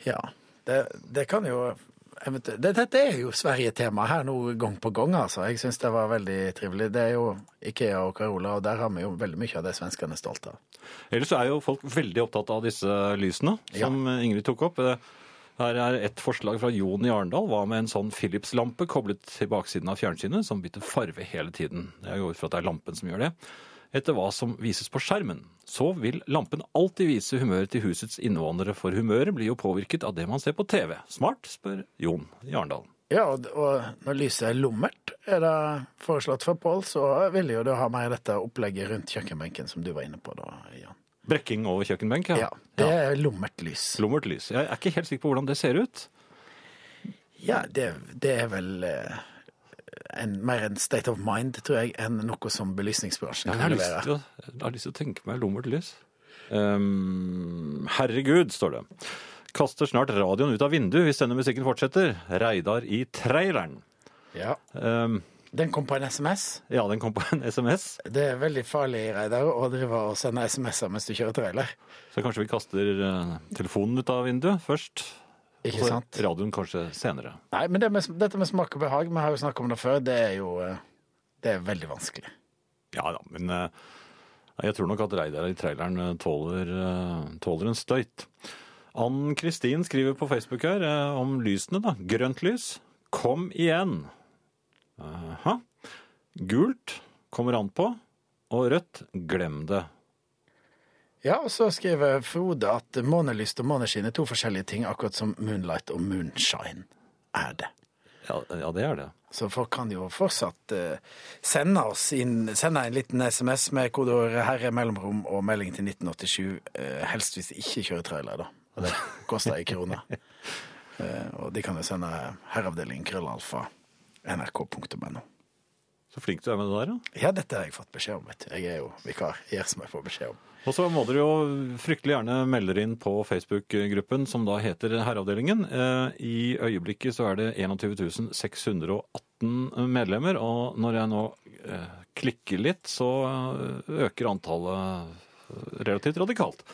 Speaker 2: Ja, det, det kan jo eventu- det, Dette er jo Sverige-tema her nå gang på gang, altså. Jeg syns det var veldig trivelig. Det er jo Ikea og Carola, og der har vi jo veldig mye av det svenskene er stolte av.
Speaker 1: Ellers så er jo folk veldig opptatt av disse lysene, som Ingrid tok opp. Eh, Her er et forslag fra Jon i Arendal. Hva med en sånn Philips-lampe koblet til baksiden av fjernsynet, som bytter farve hele tiden? Jeg går ut fra at det er lampen som gjør det. Etter hva som vises på skjermen. Så vil lampen alltid vise humøret til husets innvånere, for humøret blir jo påvirket av det man ser på TV. Smart, spør Jon i Arendal.
Speaker 2: Ja, og, og når lyset er lummert, er det foreslått fra Pål, så vil jo du ha mer dette opplegget rundt kjøkkenbenken som du var inne på da, Jan.
Speaker 1: Brekking over kjøkkenbenk,
Speaker 2: Ja,
Speaker 1: ja.
Speaker 2: det er lummert lys.
Speaker 1: Lummert lys. Jeg er ikke helt sikker på hvordan det ser ut.
Speaker 2: Ja, det, det er vel eh, en, mer en state of mind, tror jeg, enn noe som belysningsbransjen
Speaker 1: Ja, men jeg, har
Speaker 2: kan
Speaker 1: lyst
Speaker 2: levere.
Speaker 1: til å, jeg har lyst til å tenke meg lummert lys. Ehm, herregud, står det. Kaster snart radioen ut av vinduet hvis denne musikken fortsetter. Reidar i traileren.
Speaker 2: Ja.
Speaker 1: Ehm,
Speaker 2: Den kom på en SMS.
Speaker 1: ja, den kom på en SMS,
Speaker 2: Det er veldig farlig, Reidar, å drive og sende SMS-er mens du kjører trailer.
Speaker 1: så kanskje vi kaster eh, telefonen ut av vinduet først.
Speaker 2: Ikke
Speaker 1: og så
Speaker 2: sant?
Speaker 1: Radioen kanskje senere.
Speaker 2: Nei, men det med, dette med smak og behag, vi har jo snakket om det før, det er jo eh, det er veldig vanskelig.
Speaker 1: Ja da, men eh, jeg tror nok at Reidar i traileren eh, tåler, eh, tåler en støyt. Ann Kristin skriver på Facebook her eh, om lysene, da. Grønt lys. Kom igjen. Aha. Gult kommer an på. Og rødt, glem det.
Speaker 2: Ja, og så skriver Frode at månelyst og måneskinn er to forskjellige ting, akkurat som moonlight og moonshine er det.
Speaker 1: Ja, ja det er det.
Speaker 2: Så folk kan jo fortsatt eh, sende oss inn, sende en liten SMS med kodeord 'herre mellomrom' og melding til 1987, eh, helst hvis de ikke kjører trailer, da. Og det koster ei krone. Eh, og de kan jo sende herreavdelingen krøllalfa nrk.no.
Speaker 1: Så flink du er med det der, ja.
Speaker 2: Ja, dette har jeg fått beskjed om, vet du. Jeg er jo vikar. Jeg gjør som jeg får beskjed om.
Speaker 1: Og så må dere jo fryktelig gjerne melde dere inn på Facebook-gruppen som da heter Herreavdelingen. Eh, I øyeblikket så er det 21 618 medlemmer, og når jeg nå eh, klikker litt, så eh, øker antallet eh, relativt radikalt.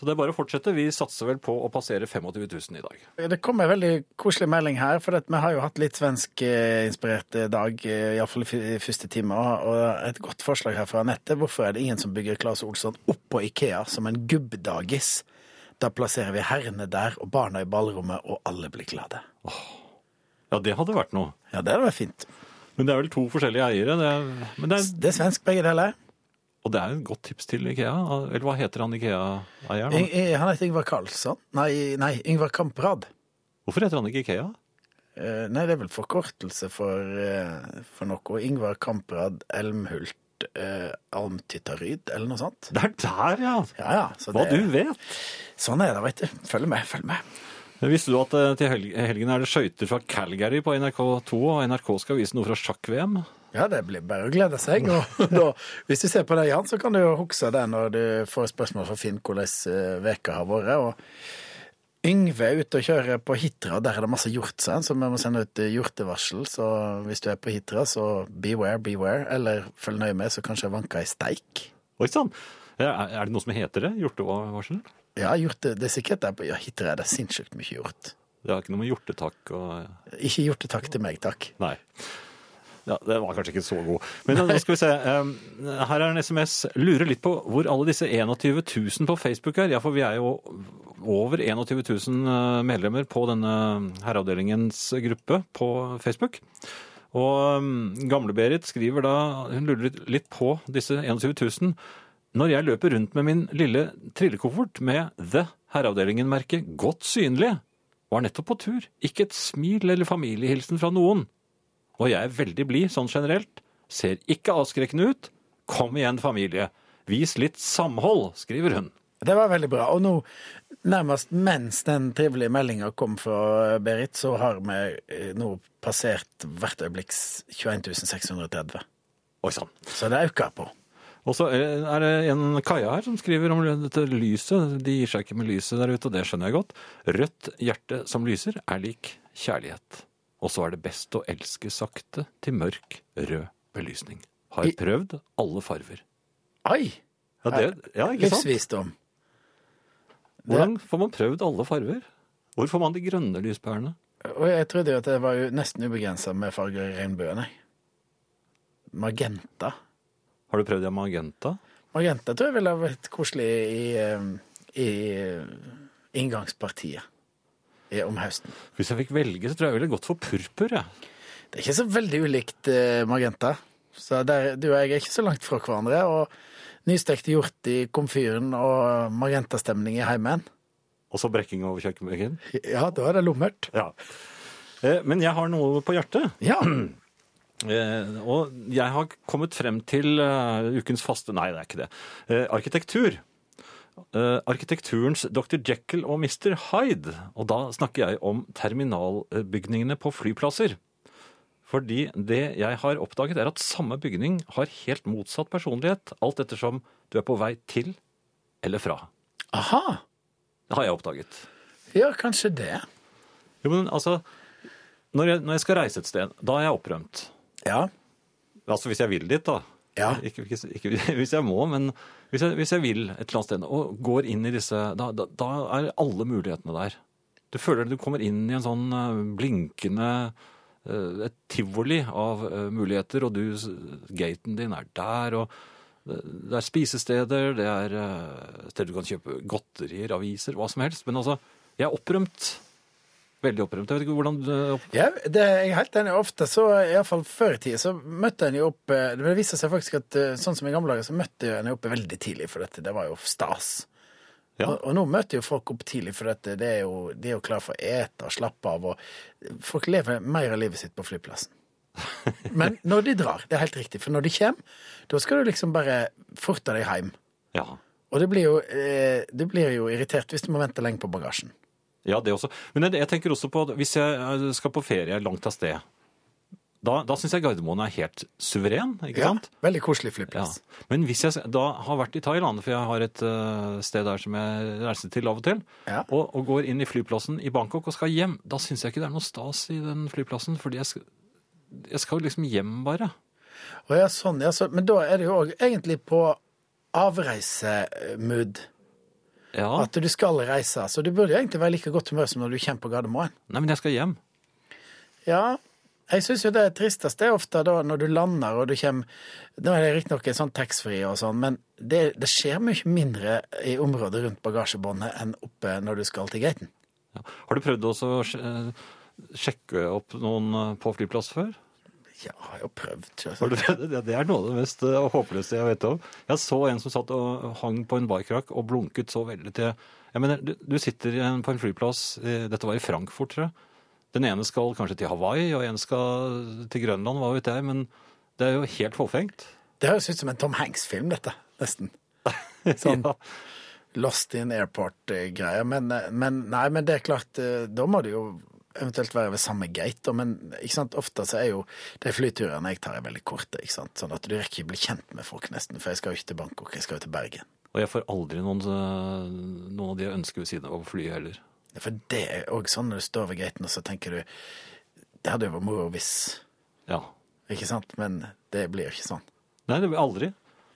Speaker 1: Så det er bare å fortsette. Vi satser vel på å passere 25 000 i dag.
Speaker 2: Det kom en veldig koselig melding her, for at vi har jo hatt litt svenskinspirert eh, dag, iallfall i første time. og- Og et godt forslag her fra Anette. Hvorfor er det ingen som bygger Claes Olsson oppå Ikea som en gubbdagis? Da plasserer vi herrene der og barna i ballrommet, og alle blir glade.
Speaker 1: Ja, det hadde vært noe.
Speaker 2: Ja, det hadde vært fint.
Speaker 1: Men det er vel to forskjellige eiere. Det er, men det er,
Speaker 2: Det er svensk, begge deler.
Speaker 1: og det er et godt tips til Ikea. Eller hva heter han Ikea-eieren?
Speaker 2: I- I- Han heter Yngvar Karlsson. Nei, nei Yngvar Kamprad.
Speaker 1: Hvorfor heter han ikke Ikea?
Speaker 2: Eh, Nei, det er vel forkortelse for, eh, for noe. Yngvar Kamprad Elmhult eh, Almtyttaryd, eller noe sånt.
Speaker 1: Det er der, ja!
Speaker 2: Ja, ja. Så
Speaker 1: Hva
Speaker 2: det,
Speaker 1: du vet.
Speaker 2: Sånn er det, veit du. Følg med, følg med.
Speaker 1: Visste du at eh, til helg- helgen er det skøyter fra Calgary på NRK2, og NRK skal vise noe fra sjakk-VM?
Speaker 2: Ja, det blir bare å glede seg. Og da, hvis du ser på det, Jan, så kan du jo huske det når du får spørsmål fra Finn hvordan eh, veka har vært. og Yngve er ute og kjører på Hitra, og der er det masse hjortsand, så vi må sende ut eh, hjortevarsel. Så hvis du er på Hitra, så beware, beware. Eller følg nøye med, så kanskje vanker ei steik.
Speaker 1: Oi sann! Ja, Er er det noe som heter det? Hjortevarsel?
Speaker 2: Ja, hjorte, det er sikkert der på ja, Hitra er det sinnssykt mye hjort.
Speaker 1: Det har ikke noe med hjortetakk og
Speaker 2: Ikke hjortetakk til meg, takk.
Speaker 1: Nei. Ja, Den var kanskje ikke så god. Men da skal vi se. Um, Her er en SMS. Lurer litt på hvor alle disse 21 000 på Facebook er. Ja, for vi er jo over 21 000 medlemmer på denne herreavdelingens gruppe på Facebook. Og um, Gamle-Berit skriver da Hun lurer litt- litt på disse 21 000. Når jeg løper rundt med min lille trillekoffert med The Herreavdelingen-merket godt synlig, var nettopp på tur. Ikke et smil eller familiehilsen fra noen. Og jeg er veldig blid sånn generelt. Ser ikke avskrekkende ut. Kom igjen, familie. Vis litt samhold, skriver hun.
Speaker 2: Det var veldig bra. Og nå, nærmest mens den trivelige meldinga kom fra Berit, så har vi eh, nå passert hvert øyeblikks 21 630.
Speaker 1: Oi sann.
Speaker 2: Så det øker på.
Speaker 1: Og så eh, er det en Kaja her som skriver om dette lyset. De gir seg ikke med lyset der ute, og det skjønner jeg godt. Rødt hjerte som lyser er lik kjærlighet. Og så er det best å elske sakte til mørk, rød belysning. Har
Speaker 2: I-
Speaker 1: prøvd alle farver.
Speaker 2: Oi!
Speaker 1: Ja, det, ja ikke sant?
Speaker 2: Livsvisdom.
Speaker 1: Hvordan får man prøvd alle farver? Hvor får man de grønne lyspærene?
Speaker 2: Og jeg trodde jo at det var jo nesten ubegrensa med farger i regnbuen, jeg. Magenta.
Speaker 1: Har du prøvd det med magenta?
Speaker 2: Magenta tror jeg ville ha vært koselig i, eh, i eh, inngangspartiet i- om høsten.
Speaker 1: Hvis jeg fikk velge, så tror jeg jeg ville gått for purpur. Jeg.
Speaker 2: Det er ikke så veldig ulikt eh, magenta. Så der, du og jeg er ikke så langt fra hverandre. Og nystekte hjort i komfyren og magentastemning i heimen.
Speaker 1: Og så brekking over kjøkkenbenken.
Speaker 2: Ja, da er det lummert.
Speaker 1: Ja. Eh, Men jeg har noe på hjertet.
Speaker 2: Ja.
Speaker 1: Eh, Og jeg har kommet frem til eh, ukens faste Nei, det er ikke det. Eh, Arkitektur. Eh, Arkitekturens Dr. Jekyll og Mr. Hyde. Og da snakker jeg om terminalbygningene på flyplasser. Fordi det jeg har oppdaget, er at samme bygning har helt motsatt personlighet, alt ettersom du er på vei til eller fra.
Speaker 2: Aha.
Speaker 1: Det har jeg oppdaget.
Speaker 2: Ja, kanskje det.
Speaker 1: Jo, men altså, når jeg, når jeg skal reise et sted, da er jeg opprømt.
Speaker 2: Ja.
Speaker 1: Altså hvis jeg vil dit, da.
Speaker 2: Ja.
Speaker 1: Ikke, ikke, ikke hvis jeg må, men hvis jeg, hvis jeg vil et eller annet sted og går inn i disse Da, da, da er alle mulighetene der. Du føler at du kommer inn i en sånn eh, blinkende eh, Et tivoli av eh, muligheter, og du, s- gaten din er der, og det det er spisesteder, det er eh, steder du kan kjøpe godterier, aviser, hva som helst. Men altså, jeg er opprømt. Veldig opprømt. Jeg vet ikke hvordan du eh,
Speaker 2: Ja, det er jeg helt enig. i. Ofte så, iallfall før i tida, så møtte en jo opp eh, Det viser seg faktisk at eh, sånn som i gamle dager, så møtte en jo opp veldig tidlig, for dette, det var jo stas.
Speaker 1: Ja.
Speaker 2: Og, og nå møter jo folk opp tidlig, for dette, det er jo, de er jo klar for å ete og slappe av. Og folk lever mer av livet sitt på flyplassen. Men når de drar, det er helt riktig, for når de kommer, da skal du liksom bare forte deg hjem.
Speaker 1: Ja.
Speaker 2: Og det blir jo, eh, du blir jo irritert hvis du må vente lenge på bagasjen.
Speaker 1: Ja, det også. Men jeg, jeg tenker også på at hvis jeg eh, skal på ferie langt av sted, da, da syns jeg Gardermoen er helt suveren, ikke sant?
Speaker 2: Veldig
Speaker 1: Ja.
Speaker 2: koselig flyplass.
Speaker 1: Men hvis jeg da har vært i Thailand, for jeg har et eh, sted der som jeg reiser til av og til,
Speaker 2: Ja.
Speaker 1: og, og går inn i flyplassen i Bangkok og skal hjem, da syns jeg ikke det er noe stas i den flyplassen, fordi jeg skal, jeg skal liksom hjem bare.
Speaker 2: Å ja, sånn, ja, så, men da er det jo òg egentlig på avreisemood
Speaker 1: Ja,
Speaker 2: at du skal reise. Så du burde jo egentlig være like godt humør som når du kommer på Gardermoen.
Speaker 1: Nei, men jeg skal hjem.
Speaker 2: Ja, jeg syns jo det tristeste er ofte da når du lander og du kommer Nå er det riktignok en sånn taxfree og sånn, men det, det skjer mye mindre i området rundt bagasjebåndet enn oppe når du skal til gaten.
Speaker 1: Ja. Har du prøvd også å sj- eh, sjekke opp noen eh, på flyplass før?
Speaker 2: Ja, jeg har jo prøvd. ikke sant?
Speaker 1: Har du- Det det er noe av det mest eh, håpløse jeg vet om. Jeg så en som satt og hang på en barkrakk og blunket så veldig til Jeg mener, du, du sitter i en- på en flyplass eh, Dette var i Frankfurt, tror jeg. Den ene skal kanskje til Hawaii, og en skal til Grønland, hva vet jeg. Men det er jo helt forfengt.
Speaker 2: Det høres ut som en Tom Hanks-film, dette. Nesten. Sånn.
Speaker 1: Ja.
Speaker 2: Lost in airport-greier. Men, eh, men nei, men det er klart, eh, da må det jo eventuelt være ved samme gate. da, Men ikke sant? ofte så er jo de flyturene jeg tar, er veldig korte. ikke sant? Sånn at du rekker ikke bli kjent med folk, nesten. For jeg skal jo ikke til Bangkok, jeg skal jo til Bergen.
Speaker 1: Og jeg får aldri noen, eh, noen av de jeg ønsker ved siden av å fly heller.
Speaker 2: For det er òg sånn når du står ved gaten, og så tenker du Det hadde jo vært moro hvis
Speaker 1: Ja.
Speaker 2: Ikke sant? Men det blir jo ikke sånn.
Speaker 1: Nei, det blir aldri.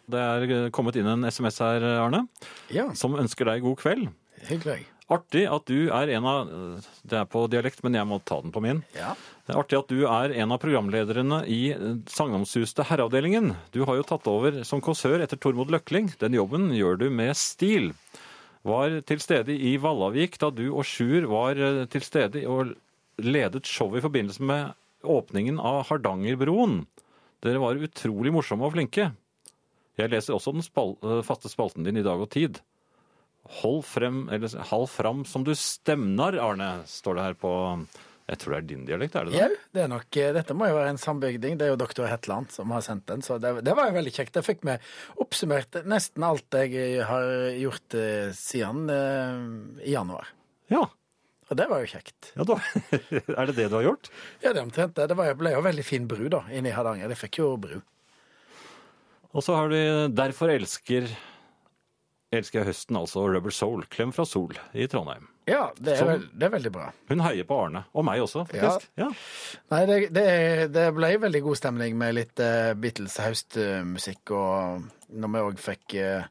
Speaker 1: Det er eh, kommet inn en SMS her, Arne,
Speaker 2: Ja,
Speaker 1: som ønsker deg god kveld.
Speaker 2: hyggelig. Hyggelig.
Speaker 1: Artig at du er en av eh, Det er på dialekt, men jeg må ta den på min.
Speaker 2: Ja.
Speaker 1: Det er artig at du er en av programlederne i eh, sagnomsuste Herreavdelingen. Du har jo tatt over som kåsør etter Tormod Løkling. Den jobben gjør du med stil. Var til stede i Vallavik da du og Sjur var eh, til stede og ledet showet i forbindelse med åpningen av Hardangerbroen. Dere var utrolig morsomme og flinke. Jeg leser også den spal eh, faste spalten din i dag og tid. Hold frem, eller hall fram som du stemnar, Arne, står det her på Jeg tror det er din dialekt, er det det?
Speaker 2: Jau, det er nok, eh, dette må jo være en sambygding. Det er jo doktor Hetland som har sendt den. Så det, det var jo veldig kjekt. Jeg fikk med oppsummert nesten alt jeg har gjort eh, siden eh, i januar.
Speaker 1: Ja.
Speaker 2: Og det var jo kjekt.
Speaker 1: ja da. er det det du har gjort?
Speaker 2: Ja, det er omtrent det. Det var, ble jo veldig fin bru da, inne i Hardanger. Det fikk jo bru.
Speaker 1: Og så har du 'Derfor elsker elsker jeg høsten', altså og 'Rubber Soul'. Klem fra Sol i Trondheim.
Speaker 2: Ja, det er,
Speaker 1: Sånn.
Speaker 2: vel- det er veldig bra.
Speaker 1: Hun heier på Arne. Og meg også, faktisk. Ja.
Speaker 2: Nei, det, det, det ble veldig god stemning med litt eh, Beatles høstmusikk, og når vi òg fikk eh,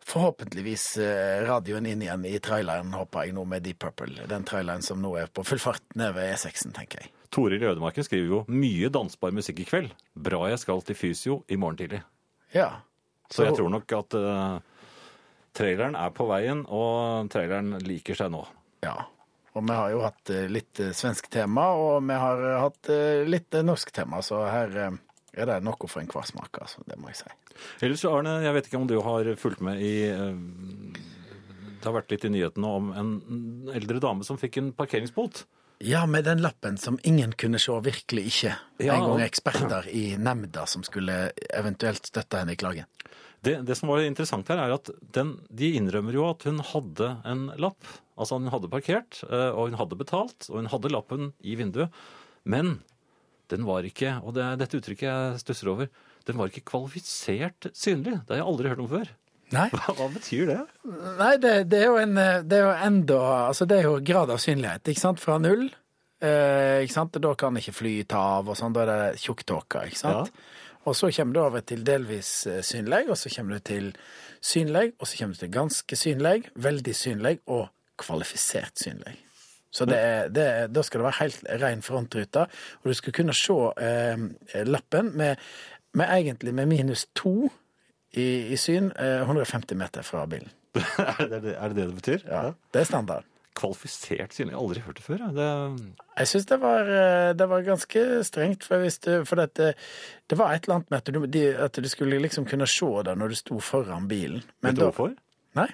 Speaker 2: forhåpentligvis eh, radioen inn igjen i traileren, håper jeg nå, med Deep Purple. Den traileren som nå er på full fart ned ved E6-en, tenker jeg.
Speaker 1: Toril i Ødemarken skriver jo 'mye dansbar musikk i kveld'. Bra jeg skal til fysio i morgen tidlig.
Speaker 2: Ja.
Speaker 1: Så jeg tror nok at eh, traileren er på veien, og traileren liker seg nå.
Speaker 2: Ja. Og vi har jo hatt eh, litt eh, svensk tema, og vi har eh, hatt eh, litt eh, norsk tema, så her eh, er det noe for enhver smak, altså. Det må jeg si.
Speaker 1: Ellers, Arne, jeg vet ikke om du har fulgt med i eh, Det har vært litt i nyhetene om en eldre dame som fikk en parkeringsbot.
Speaker 2: Ja, med den lappen som ingen kunne se, virkelig ikke.
Speaker 1: Ja,
Speaker 2: en
Speaker 1: og-
Speaker 2: gang eksperter i nemnda som skulle eventuelt støtte henne i klagen.
Speaker 1: Det, det som var interessant her, er at den, de innrømmer jo at hun hadde en lapp. Altså hun hadde parkert, eh, og hun hadde betalt, og hun hadde lappen i vinduet. Men den var ikke, og det er dette uttrykket jeg stusser over, den var ikke kvalifisert synlig. Det har jeg aldri hørt om før.
Speaker 2: Nei,
Speaker 1: Hva, hva betyr det?
Speaker 2: nei det, det, er jo en, eh, det er jo enda Altså, det er jo grad av synlighet, ikke sant? Fra null. Eh, ikke sant? Da kan ikke fly ta av og sånn. Da er det tjukktåke, ikke sant? Og så kommer du over til delvis eh, synlig, og så kommer du til synlig, og så kommer du til ganske synlig, veldig synlig og kvalifisert synlig. Så det er, det er, da skal det være helt ren frontrute, og du skal kunne se eh, lappen med, med egentlig med minus to i, i syn, eh, 150 meter fra bilen.
Speaker 1: er, det er det det det betyr?
Speaker 2: Ja, Det er standard.
Speaker 1: Kvalifisert synlig? Jeg har aldri hørt det før. jeg. Det,
Speaker 2: Jeg syns det, var, eh, det var ganske strengt, for, hvis du, for dette, det var et eller annet med at du, de, at du skulle liksom kunne se det når du sto foran bilen.
Speaker 1: vet du
Speaker 2: da-
Speaker 1: hvorfor?
Speaker 2: Nei.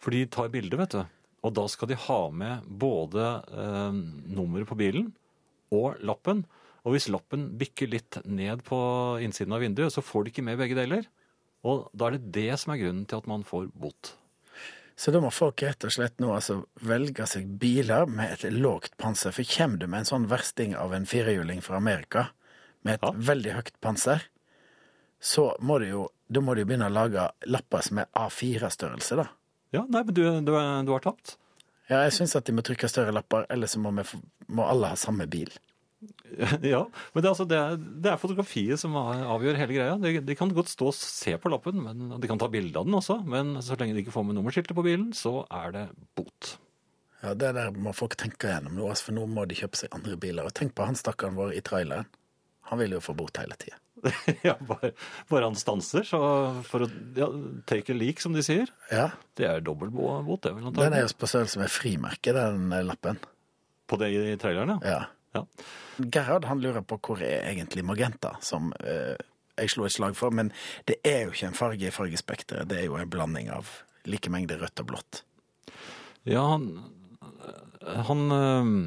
Speaker 1: For de tar bilder, vet du. Og da skal de ha med både eh, nummeret på bilen og lappen. Og hvis lappen bikker litt ned på innsiden av vinduet, så får de ikke med begge deler. Og da er det det som er grunnen til at man får bot.
Speaker 2: Så da må folk rett og slett nå altså velge seg biler med et lågt panser. For kommer du med en sånn versting av en firehjuling fra Amerika med et
Speaker 1: Ja.
Speaker 2: veldig høyt panser, så må du jo, da må du jo begynne å lage lapper som er A4-størrelse, da.
Speaker 1: Ja, nei, men du, du, er- du har tapt.
Speaker 2: Ja, jeg syns at de må trykke større lapper, ellers så må, vi, få- må alle ha samme bil.
Speaker 1: ja, men det er, altså, det, er, det er fotografiet som avgjør hele greia. De, de kan godt stå og se på lappen, men og de kan ta bilde av den også. Men så lenge de ikke får med nummerskiltet på bilen, så er det bot.
Speaker 2: Ja, Det der må folk tenke gjennom nå, altså, for nå må de kjøpe seg andre biler. Og tenk på han stakkaren vår i traileren. Han vil jo få bot hele tida.
Speaker 1: ja, bare, bare han stanser så for å ja, take a leak, som de sier.
Speaker 2: Ja,
Speaker 1: Det er dobbel bo- bot, det vel
Speaker 2: Den er
Speaker 1: antagelig.
Speaker 2: jo på størrelse med frimerke, den eh, lappen.
Speaker 1: På det i traileren, ja.
Speaker 2: Ja.
Speaker 1: ja.
Speaker 2: Gerhard han lurer på hvor er egentlig magenta, som eh, jeg slo et slag for. Men det er jo ikke en farge i fargespekteret, det er jo en blanding av like mengder rødt og blått.
Speaker 1: Ja, han, han, øhm,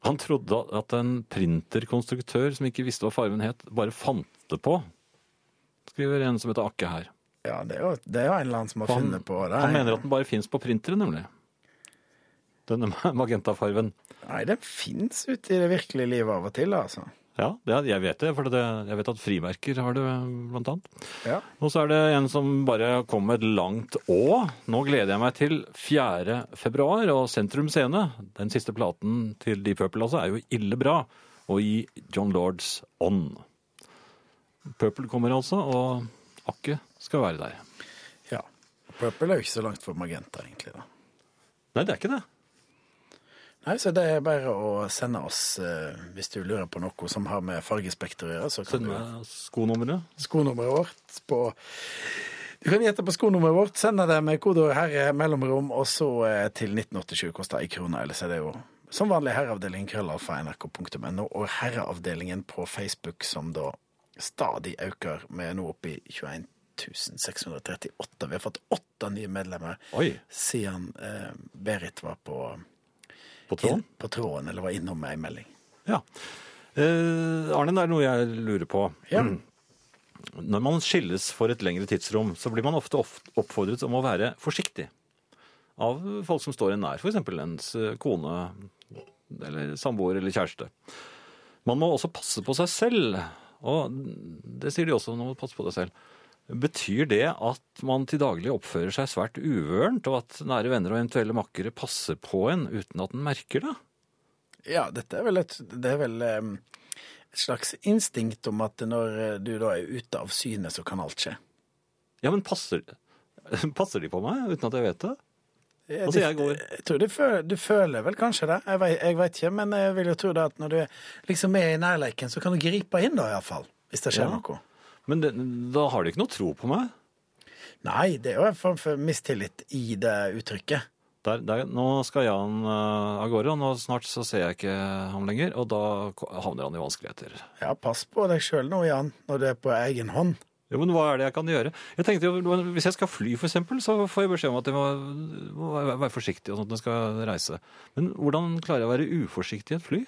Speaker 1: han trodde at en printerkonstruktør som ikke visste hva fargen het, bare fant det på. Skriver en som heter Akke her.
Speaker 2: Ja, det er jo, det er jo en eller annen som har
Speaker 1: For han-
Speaker 2: funnet på det.
Speaker 1: Han mener at den bare fins på printere, nemlig. Denne magentafarven.
Speaker 2: Nei, den fins ute i det virkelige livet av og til, altså.
Speaker 1: Ja, det, jeg vet det, for det, jeg vet at frimerker har det, blant annet.
Speaker 2: Ja.
Speaker 1: Og så er det en som bare kom med et langt å. Nå gleder jeg meg til 4. februar og Sentrum Scene. Den siste platen til Deep Purple altså, er jo ille bra. Og i John Lords ånd. Purple kommer altså, og Akke skal være der.
Speaker 2: Ja. Purple er jo ikke så langt for Magenta, egentlig. da.
Speaker 1: Nei, det er ikke det.
Speaker 2: Nei, så det er bare å sende oss eh, hvis du lurer på noe som har med fargespekter å gjøre. så kan
Speaker 1: Send
Speaker 2: du...
Speaker 1: meg skonummeret.
Speaker 2: skonummeret vårt på Du kan gjette på skonummeret vårt, sende det med kodeord 'herre' mellomrom, og så eh, til 1987 koster ei krone, ellers er det jo som vanlig herreavdelingen krøllalfa nrk.no og herreavdelingen på Facebook, som da stadig øker. Vi er nå oppe i 21 638. Vi har fått åtte nye medlemmer
Speaker 1: Oi,
Speaker 2: siden eh, Berit var på,
Speaker 1: på tråden.
Speaker 2: på tråden, eller var innom med ei melding.
Speaker 1: Ja. Eh, Arne, det er noe jeg lurer på.
Speaker 2: Ja.
Speaker 1: Når man skilles for et lengre tidsrom, så blir man ofte of- oppfordret om å være forsiktig. Av folk som står en nær, f.eks. ens eh, kone eller samboer eller kjæreste. Man må også passe på seg selv, og det sier de også når man passer på deg selv. Betyr det at man til daglig oppfører seg svært uvørent, og at nære venner og eventuelle makkere passer på en uten at en merker det?
Speaker 2: Ja, dette er vel et, det er vel em, et slags instinkt om at når eh, du da er ute av syne, så kan alt skje.
Speaker 1: Ja, men passer, passer de på meg uten at jeg vet det?
Speaker 2: Eh,
Speaker 1: Altså,
Speaker 2: du-
Speaker 1: jeg går-
Speaker 2: jeg tror du føler, du føler vel kanskje det. Jeg vet, jeg vet ikke, men jeg vil jo tro det at når du er- liksom er i nærleiken, så kan du gripe inn da, iallfall. Hvis det skjer
Speaker 1: Ja.
Speaker 2: noe.
Speaker 1: Men det, da har de ikke noe tro på meg.
Speaker 2: Nei, det er jo en form for mistillit i det uttrykket.
Speaker 1: Der, der, nå skal Jan eh, av gårde, og nå snart så ser jeg ikke ham lenger. Og da ko- havner han i vanskeligheter.
Speaker 2: Ja, pass på deg sjøl nå, Jan, når du er på egen hånd.
Speaker 1: Jo, men hva er det jeg kan gjøre? Jeg tenkte jo, Hvis jeg skal fly, for eksempel, så får jeg beskjed om at jeg må, må være være forsiktig og sånt når jeg skal reise. Men hvordan klarer jeg å være uforsiktig i et fly?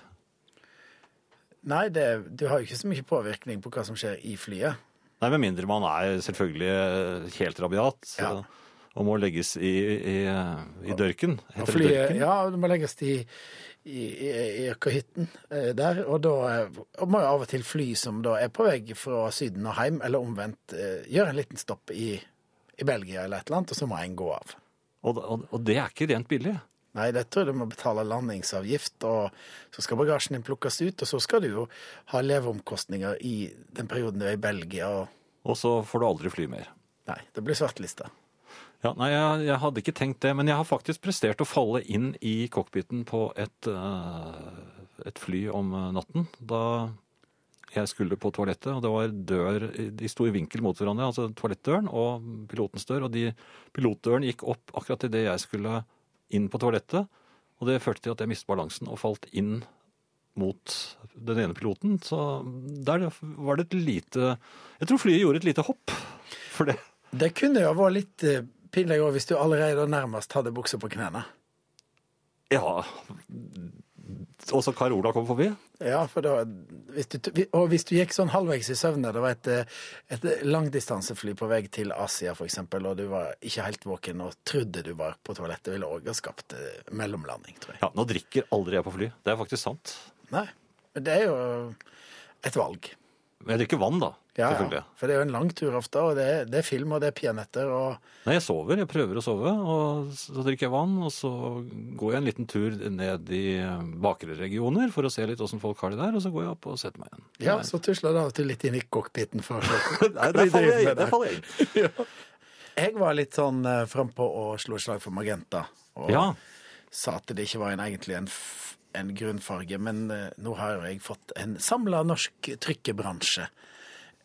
Speaker 2: Nei, det, du har jo ikke så mye påvirkning på hva som skjer i flyet.
Speaker 1: Nei, Med mindre man er selvfølgelig eh, helt rabiat eh,
Speaker 2: Ja.
Speaker 1: og må legges i, i, i dørken.
Speaker 2: Og
Speaker 1: Heter det
Speaker 2: flyet,
Speaker 1: dørken?
Speaker 2: ja, det må legges i, i, i, i økohytten eh, der, og da eh, og må jo av og til fly som da er på vei fra Syden og hjem, eller omvendt, eh, gjøre en liten stopp i, i Belgia eller et eller annet, og så må en gå av.
Speaker 1: Og, og, og det er ikke rent billig.
Speaker 2: Nei, det tror jeg du må betale landingsavgift, og så skal bagasjen din plukkes ut, og så skal du jo ha leveomkostninger i den perioden du er i Belgia, og
Speaker 1: Og så får du aldri fly mer.
Speaker 2: nei, det blir svartlista.
Speaker 1: Ja, nei, jeg, jeg hadde ikke tenkt det, men jeg har faktisk prestert å falle inn i cockpiten på et, eh, et fly om eh, natten. Da jeg skulle på toalettet, og det var dør De sto i vinkel mot hverandre, altså toalettdøren og pilotens dør. Og de, pilotdøren gikk opp akkurat idet jeg skulle inn på toalettet. Og det førte til at jeg mistet balansen og falt inn mot den ene piloten. Så der var det et lite Jeg tror flyet gjorde et lite hopp. For det
Speaker 2: Det kunne jo vært litt eh, pinlig også hvis du allerede nærmest hadde bukser på knærne.
Speaker 1: Ja. Og så Carola kom forbi.
Speaker 2: Ja, for da, hvis du, og hvis du gikk sånn halvveis i søvne, det var et, eh, et langdistansefly på vei til Asia f.eks., og du var ikke helt våken og trodde du var på toalettet, ville òg ha skapt eh, mellomlanding, tror jeg.
Speaker 1: Ja, Nå drikker aldri jeg på fly. Det er faktisk sant.
Speaker 2: Nei, men det er jo et valg.
Speaker 1: Men jeg drikker vann, da.
Speaker 2: Ja, ja.
Speaker 1: selvfølgelig.
Speaker 2: For det er jo en lang tur ofte, og det er, det er film, og det er peanøtter, og
Speaker 1: Nei, jeg sover. Jeg prøver å sove. Og så drikker jeg vann, og så går jeg en liten tur ned i eh, bakre regioner for å se litt åssen folk har det der, og så går jeg opp og setter meg igjen.
Speaker 2: ja, så tusler det av og til litt inn i cockpiten for å se
Speaker 1: Nei,
Speaker 2: hva
Speaker 1: der
Speaker 2: de
Speaker 1: faller
Speaker 2: driver
Speaker 1: jeg
Speaker 2: med
Speaker 1: inn. Der
Speaker 2: der.
Speaker 1: faller jeg inn.
Speaker 2: Jeg var litt sånn eh, frampå og slo et slag for Magenta. Og
Speaker 1: Ja.
Speaker 2: sa at det ikke var en, egentlig en, f- en grunnfarge, men eh, nå har jo jeg fått en samla norsk trykkebransje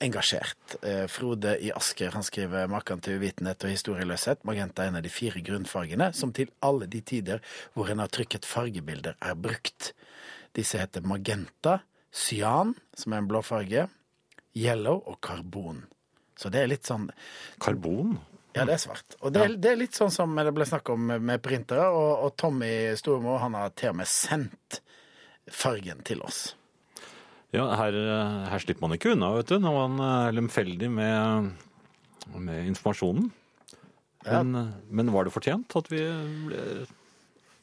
Speaker 2: engasjert. Eh, Frode i Asker han skriver 'Maken til uvitenhet og historieløshet'. Magenta er en av de fire grunnfargene som til alle de tider hvor en har trykket fargebilder, er brukt. Disse heter magenta, cyan, som er en blå farge, yellow og karbon. Så det er litt sånn
Speaker 1: Karbon.
Speaker 2: ja, det er svart. Og det er, det er litt sånn som det ble snakk om med printere, og, og Tommy Stormo han har til og med sendt fargen til oss.
Speaker 1: Ja, her, eh, her slipper man ikke unna, vet du, når man er lemfeldig med, med informasjonen.
Speaker 2: Ja.
Speaker 1: Men, eh, men var det fortjent at vi ble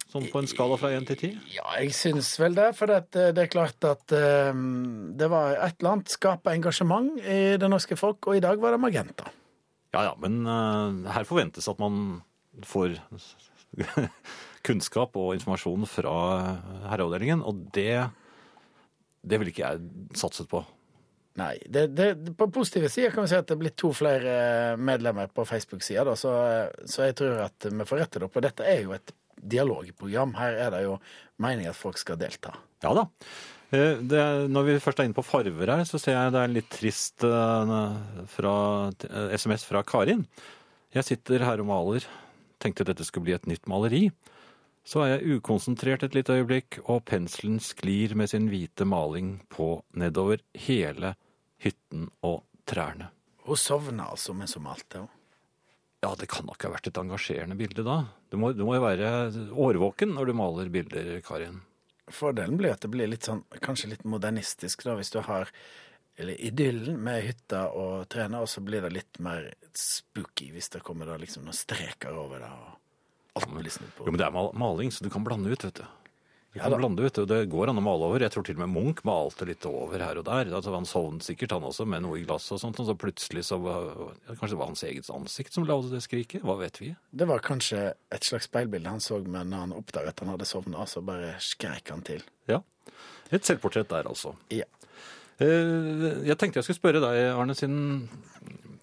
Speaker 1: sånn på en skala fra 1 til 10?
Speaker 2: Ja, jeg syns vel det, for det, det er klart at eh, det var et eller annet skapa engasjement i det norske folk, og i dag var det Magenta.
Speaker 1: Ja, ja, men eh, her forventes at man får kunnskap og informasjon fra eh, herreavdelingen, og det, det ville ikke jeg satset på.
Speaker 2: Nei. Det, det, på positive sider kan vi si at det er blitt to flere eh, medlemmer på Facebook-sida, da, så, eh, så jeg tror at vi får rette det opp. Og dette er jo et dialogprogram. Her er det jo meningen at folk skal delta.
Speaker 1: Ja da. Eh, Det, er- når vi først er inne på farver her, så ser jeg det er en litt trist eh, fra, eh, SMS fra Karin. Jeg sitter her og maler. Tenkte dette skulle bli et nytt maleri. Så er jeg ukonsentrert et lite øyeblikk, og penselen sklir med sin hvite maling på nedover hele hytten og trærne.
Speaker 2: Hun sovna altså mens hun malte.
Speaker 1: Ja, det kan nok ha vært et engasjerende bilde da. Du må, du må jo være årvåken når du maler bilder, Karin.
Speaker 2: Fordelen blir at det blir litt sånn, kanskje litt modernistisk da, hvis du har eller idyllen med hytta og trærne, og så blir det litt mer spooky hvis det kommer da liksom noen streker over det. og alt blir snudd
Speaker 1: Jo,
Speaker 2: på.
Speaker 1: men det er mal- maling, så du kan blande ut, vet du. Du
Speaker 2: Ja
Speaker 1: kan
Speaker 2: da.
Speaker 1: blande ut, og Det går an å male over. Jeg tror til og med Munch malte litt over her og der. Altså, han sovnet sikkert, han også, med noe i glasset og sånt. Og så plutselig så var ja, Kanskje det var hans eget ansikt som lagde det skriket? Hva vet vi?
Speaker 2: Det var kanskje et slags speilbilde han så, men når han oppdaget at han hadde sovna, så bare skrek han til.
Speaker 1: Ja. Et selvportrett der, altså.
Speaker 2: Ja.
Speaker 1: Eh, Jeg tenkte jeg skulle spørre deg, Arne, siden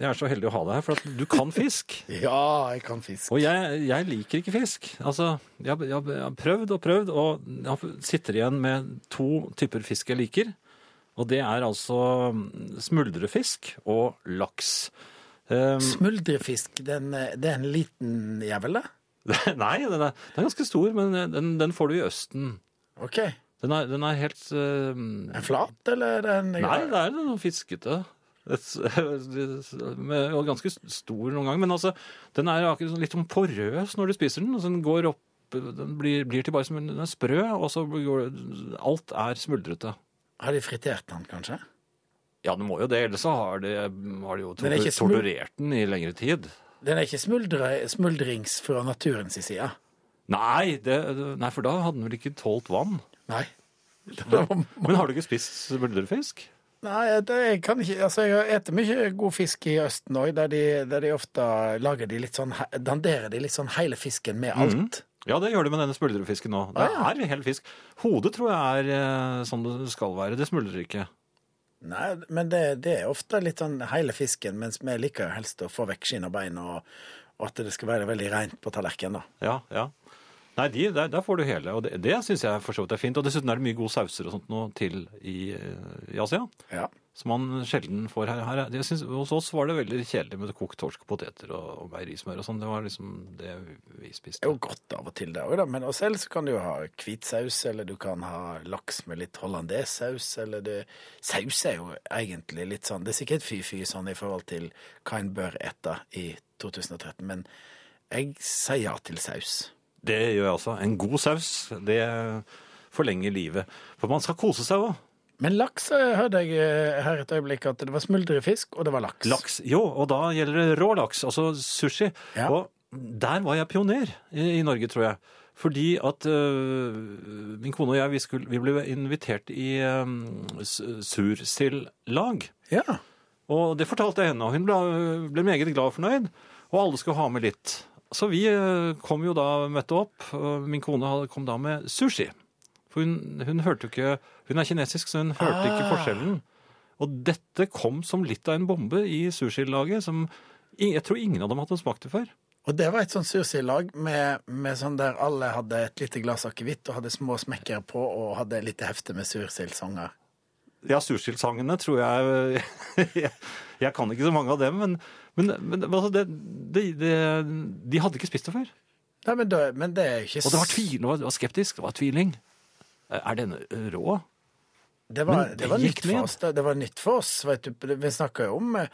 Speaker 1: jeg er så heldig å ha deg her, for at du kan fisk.
Speaker 2: Ja, jeg kan fisk.
Speaker 1: Og jeg, jeg liker ikke fisk. Altså, jeg, jeg, jeg har prøvd og prøvd, og jeg sitter igjen med to typer fisk jeg liker. Og det er altså smuldrefisk og laks. Um,
Speaker 2: Smuldrefisk, den, eh, det er en liten jævel, det?
Speaker 1: nei, den er, den er ganske stor, men den, den får du i Østen.
Speaker 2: OK. Er
Speaker 1: Den er, den er helt eh,
Speaker 2: Den flat, eller er den
Speaker 1: Nei, det er noe fiskete. Et- med- Og ganske stor noen ganger. Men altså, den er akkurat sånn litt sånn porøs når du spiser den. Altså, den går opp Den blir, blir til bare som en den er sprø, og så går det Alt er smuldrete.
Speaker 2: Har de fritert den, kanskje?
Speaker 1: Ja, den må jo det, ellers så har de, har de jo
Speaker 2: Den er
Speaker 1: tortu-
Speaker 2: ikke smul-
Speaker 1: torturert den i lengre tid.
Speaker 2: Den er ikke smuldre, smuldrings fra naturens side?
Speaker 1: Nei, det, nei, for da hadde den vel ikke tålt vann.
Speaker 2: Nei. Det var-
Speaker 1: Men har du ikke spist smuldrefisk?
Speaker 2: Nei, det, jeg kan ikke Altså, jeg spiser mye god fisk i Østen òg, der, de- der de ofte lager de litt sånn he- Danderer de litt sånn hele fisken med alt.
Speaker 1: Ja, det gjør det med denne smuldrefisken nå. Det er hel fisk. Hodet tror jeg er eh, sånn det skal være. Det smuldrer ikke.
Speaker 2: Nei, men det, det er ofte litt sånn hele fisken, mens vi liker jo helst å få vekk skinn og bein, og, og at det skal være veldig rent på tallerkenen, da.
Speaker 1: Ja, ja. Nei, de, der, der får du hele, og det, det syns jeg for så vidt er fint. Og dessuten er det mye gode sauser og sånt nå til i, eh, i Asia,
Speaker 2: Ja.
Speaker 1: som man sjelden får her. her er- jeg synes, hos oss var det veldig kjedelig med kokt torsk, poteter og, og meierismør og sånn. Det var liksom det vi
Speaker 2: Det er
Speaker 1: spiste.
Speaker 2: jo godt av og til, det òg, da. Men også ellers kan du jo ha hvit saus, eller du kan ha laks med litt hollandesaus, eller det Saus er jo egentlig litt sånn Det er sikkert fy-fy sånn i forhold til hva en bør ete i 2013, men jeg sier ja til saus.
Speaker 1: Det gjør jeg også. En god saus, det forlenger livet. For man skal kose seg òg.
Speaker 2: Men laks eh, hørte jeg eh, her et øyeblikk at det var smuldrefisk, og det var laks.
Speaker 1: Laks, jo, og da gjelder det rå laks, altså sushi.
Speaker 2: Ja.
Speaker 1: Og der var jeg pioner i, i Norge, tror jeg. Fordi at øh, min kone og jeg, vi, skulle, vi ble invitert i øh, s- sursildlag.
Speaker 2: Ja.
Speaker 1: Og det fortalte jeg henne, og hun ble, ble meget glad og fornøyd. Og alle skulle ha med litt. Så vi eh, kom jo da, møtte opp. og Min kone hadde- kom da med sushi. For hun, hun hørte jo ikke Hun er kinesisk, så hun hørte ikke
Speaker 2: Ah.
Speaker 1: forskjellen. Og dette kom som litt av en bombe i sushilaget som i- Jeg tror ingen av dem hadde smakt det før.
Speaker 2: Og det var et sånn sushi-lag med, med sånn der alle hadde et lite glass akevitt og hadde små smekkere på og hadde et lite hefte med sursildsanger.
Speaker 1: Ja, sursildssangene tror jeg, jeg Jeg kan ikke så mange av dem, men, men, men altså, det, det, det, de hadde ikke spist det før.
Speaker 2: Nei, men, da, men det er jo ikke
Speaker 1: Og det var
Speaker 2: s-
Speaker 1: tvil, det var, det var skeptisk, det var tviling. Er denne rå?
Speaker 2: Det var,
Speaker 1: Men
Speaker 2: det var
Speaker 1: det gikk
Speaker 2: nytt for
Speaker 1: ned.
Speaker 2: oss. Det, det var nytt for oss. Vet du, vi snakka jo om eh,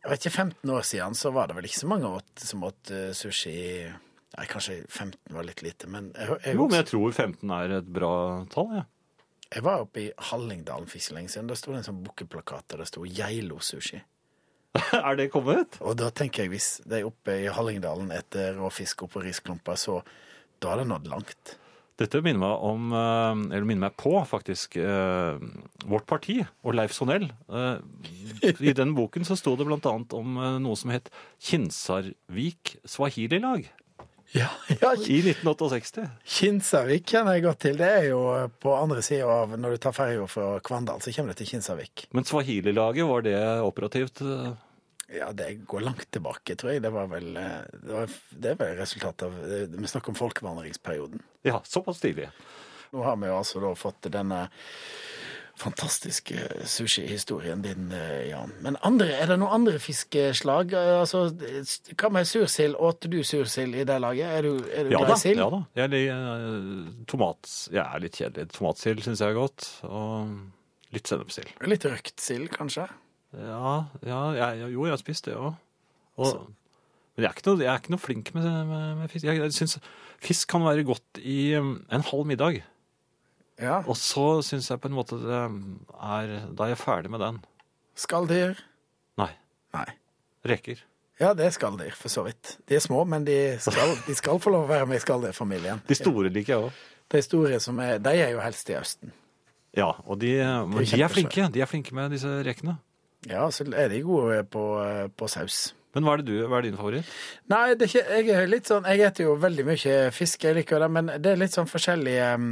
Speaker 2: Jeg vet ikke, 15 år siden så var det vel ikke så mange åt, som åt eh, sushi Nei, kanskje 15 var litt lite, men jeg, jeg,
Speaker 1: Jo, men jeg tror 15 er et bra tall, jeg.
Speaker 2: jeg var oppe i Hallingdalen for ikke så lenge siden. Da sto det en sånn bukkeplakat der det sto Geilo sushi.
Speaker 1: Er det kommet?
Speaker 2: Og da tenker jeg, hvis de oppe i Hallingdalen etter råfisk oppå risklumper, så da har det nådd langt.
Speaker 1: Dette minner meg om, eh, eller minner meg på, faktisk, eh, vårt parti og Leif Sonell. Eh, I den boken så sto det blant annet om eh, noe som het Kinsarvik Swahili-lag.
Speaker 2: Ja, ja,
Speaker 1: I 1968.
Speaker 2: Kinsarvik kjenner jeg godt til. Det er jo på andre sida av Når du tar ferja fra Kvandal, så kommer du til Kinsarvik.
Speaker 1: Men swahili-laget, var det operativt? eh,
Speaker 2: Ja, det går langt tilbake, tror jeg. Det var vel eh, Det, var, det er vel resultatet av det- Vi snakker om folkevandringsperioden.
Speaker 1: Ja, såpass tidlig.
Speaker 2: Nå har vi jo altså da fått denne fantastiske sushihistorien din, eh, Jan. Men andre, er det noen andre fiskeslag? Eh, Altså, hva med sursild? Åt du sursild i det laget? Er du, er du
Speaker 1: Ja
Speaker 2: glad
Speaker 1: da.
Speaker 2: i sild?
Speaker 1: Ja, da. Jeg, liker, eh, tomat, jeg er litt kjedelig. Tomatsild syns jeg er godt. Og litt sennepssild.
Speaker 2: Litt røkt sild, kanskje?
Speaker 1: Ja, ja jeg, jo, jeg har spist det òg. Men jeg er, ikke noe, jeg er ikke noe flink med, med, med fisk. Jeg, jeg syns fisk kan være godt i um, en halv middag.
Speaker 2: Ja.
Speaker 1: Og så syns jeg på en måte det mm, er Da er jeg ferdig med den.
Speaker 2: Skalldyr?
Speaker 1: Nei.
Speaker 2: Nei.
Speaker 1: Reker.
Speaker 2: Ja, det er skalldyr, for så vidt. De er små, men de skal, de skal få lov å være med i skalldyrfamilien.
Speaker 1: De store liker jeg òg.
Speaker 2: De store som er De er jo helst i Østen.
Speaker 1: Ja, og de, eh, men de er flinke. De er flinke med disse rekene.
Speaker 2: Ja, så er de gode på, eh, på saus.
Speaker 1: Men hva er, det du, hva er din favoritt?
Speaker 2: Nei, det er ikke, jeg er litt sånn Jeg eter jo veldig mye fisk, jeg liker det, men det er litt sånn forskjellige mm,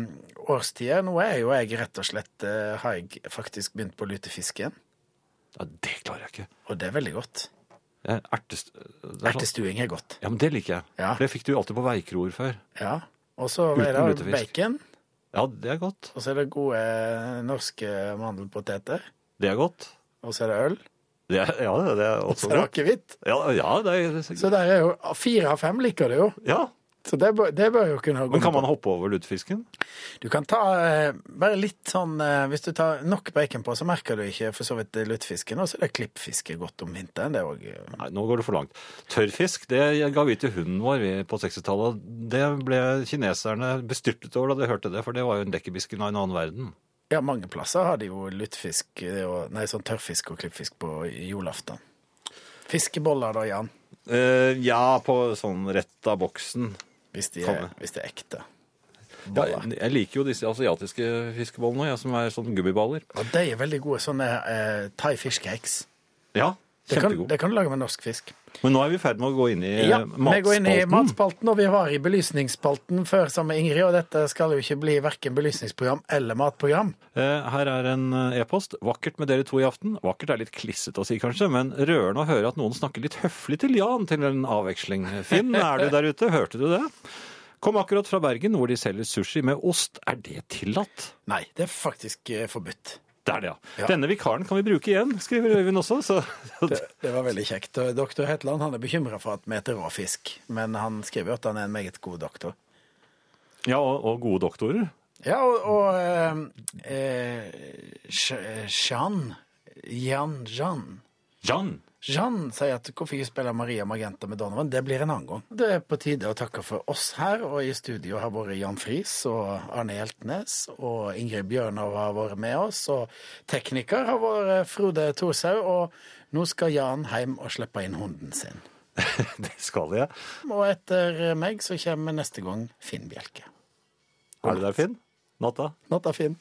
Speaker 2: årstider. Nå er jo jeg rett og slett eh, Har jeg faktisk begynt på lutefisk igjen,
Speaker 1: Ja, det klarer jeg ikke.
Speaker 2: og det er veldig godt.
Speaker 1: Jeg er Ertest... det er sånn-
Speaker 2: Ertestuing er godt.
Speaker 1: Ja, men det liker jeg.
Speaker 2: Ja.
Speaker 1: For det fikk du jo alltid på veikroer før.
Speaker 2: Ja. Og så
Speaker 1: Uten
Speaker 2: er det
Speaker 1: lutefisk.
Speaker 2: bacon,
Speaker 1: Ja, det er godt.
Speaker 2: og så er det gode eh, norske mandelpoteter,
Speaker 1: Det er godt.
Speaker 2: og så er det øl,
Speaker 1: Det er, ja, det er
Speaker 2: og
Speaker 1: også
Speaker 2: så er det
Speaker 1: godt.
Speaker 2: akevitt.
Speaker 1: Ja, ja, det er, det
Speaker 2: Så
Speaker 1: er
Speaker 2: der er jo Fire av fem liker det jo.
Speaker 1: ja.
Speaker 2: Så det bør, det bør jo kunne gå
Speaker 1: Men kan man hoppe over lutefisken?
Speaker 2: Du kan ta eh, bare litt sånn eh, Hvis du tar nok bacon på, så merker du ikke for så vidt lutefisken. Og så er det klippfiske godt om vinteren. Det er òg eh,
Speaker 1: Nei, nå går det for langt. Tørrfisk, det ga vi til hunden vår vi på 60-tallet. Det ble kineserne bestyrtet over da de hørte det, for det var jo en lekkerbisken av en annen verden.
Speaker 2: Ja, mange plasser har de jo lutefisk eh, og, Nei, sånn tørrfisk og klippfisk på julaften. Fiskeboller da, Jan.
Speaker 1: Eh, ja, på sånn rett av boksen.
Speaker 2: Hvis de er,
Speaker 1: Konge.
Speaker 2: hvis de er ekte.
Speaker 1: Ja,
Speaker 2: Boller.
Speaker 1: jeg liker jo disse asiatiske fiskebollene, jeg som er sånn gummiballer.
Speaker 2: Og de er veldig gode sånne eh, thai fish cakes.
Speaker 1: Ja,
Speaker 2: Det kan,
Speaker 1: kjempegod.
Speaker 2: det kan du lage med norsk fisk.
Speaker 1: Men nå er vi i ferd med å gå inn i eh,
Speaker 2: Ja, vi går inn i
Speaker 1: matspalten.
Speaker 2: matspalten, og vi var i belysningsspalten før sammen med Ingrid, og dette skal jo ikke bli verken belysningsprogram eller matprogram.
Speaker 1: Eh, Her er en eh, e-post. Vakkert med dere to i aften. Vakkert er litt klissete å si, kanskje, men rørende å høre at noen snakker litt høflig til Jan til en avveksling. Finn, er du der ute? Hørte du det? Kom akkurat fra Bergen, hvor de selger sushi med ost. Er det tillatt?
Speaker 2: Nei, det er faktisk eh, forbudt.
Speaker 1: Det er det, ja.
Speaker 2: Ja.
Speaker 1: Denne vikaren kan vi bruke igjen, skriver Øyvind også. Så,
Speaker 2: Det var veldig kjekt. Og Doktor Hetland han er bekymra for at vi spiser rå fisk, men han skriver jo at han er en meget god doktor.
Speaker 1: ja, og, og gode doktorer.
Speaker 2: Ja, og, og eh, eh, Sh- Jean Jan Jean
Speaker 1: Jan!
Speaker 2: Jean sier at hvorfor ikke spiller Maria Magenta med Donovan? Det blir en annen gang. Det er på tide å takke for oss her, og i studio har vært Jan Friis og Arne Hjeltnes, og Ingrid Bjørnov har vært med oss, og tekniker har vært Frode Thorshaug, og nå skal Jan hjem og slippe inn hunden sin.
Speaker 1: Det skal jeg.
Speaker 2: Og etter meg så kommer neste gang Finn Bjelke.
Speaker 1: Er du der, Finn? Natta?
Speaker 2: Natta, Finn.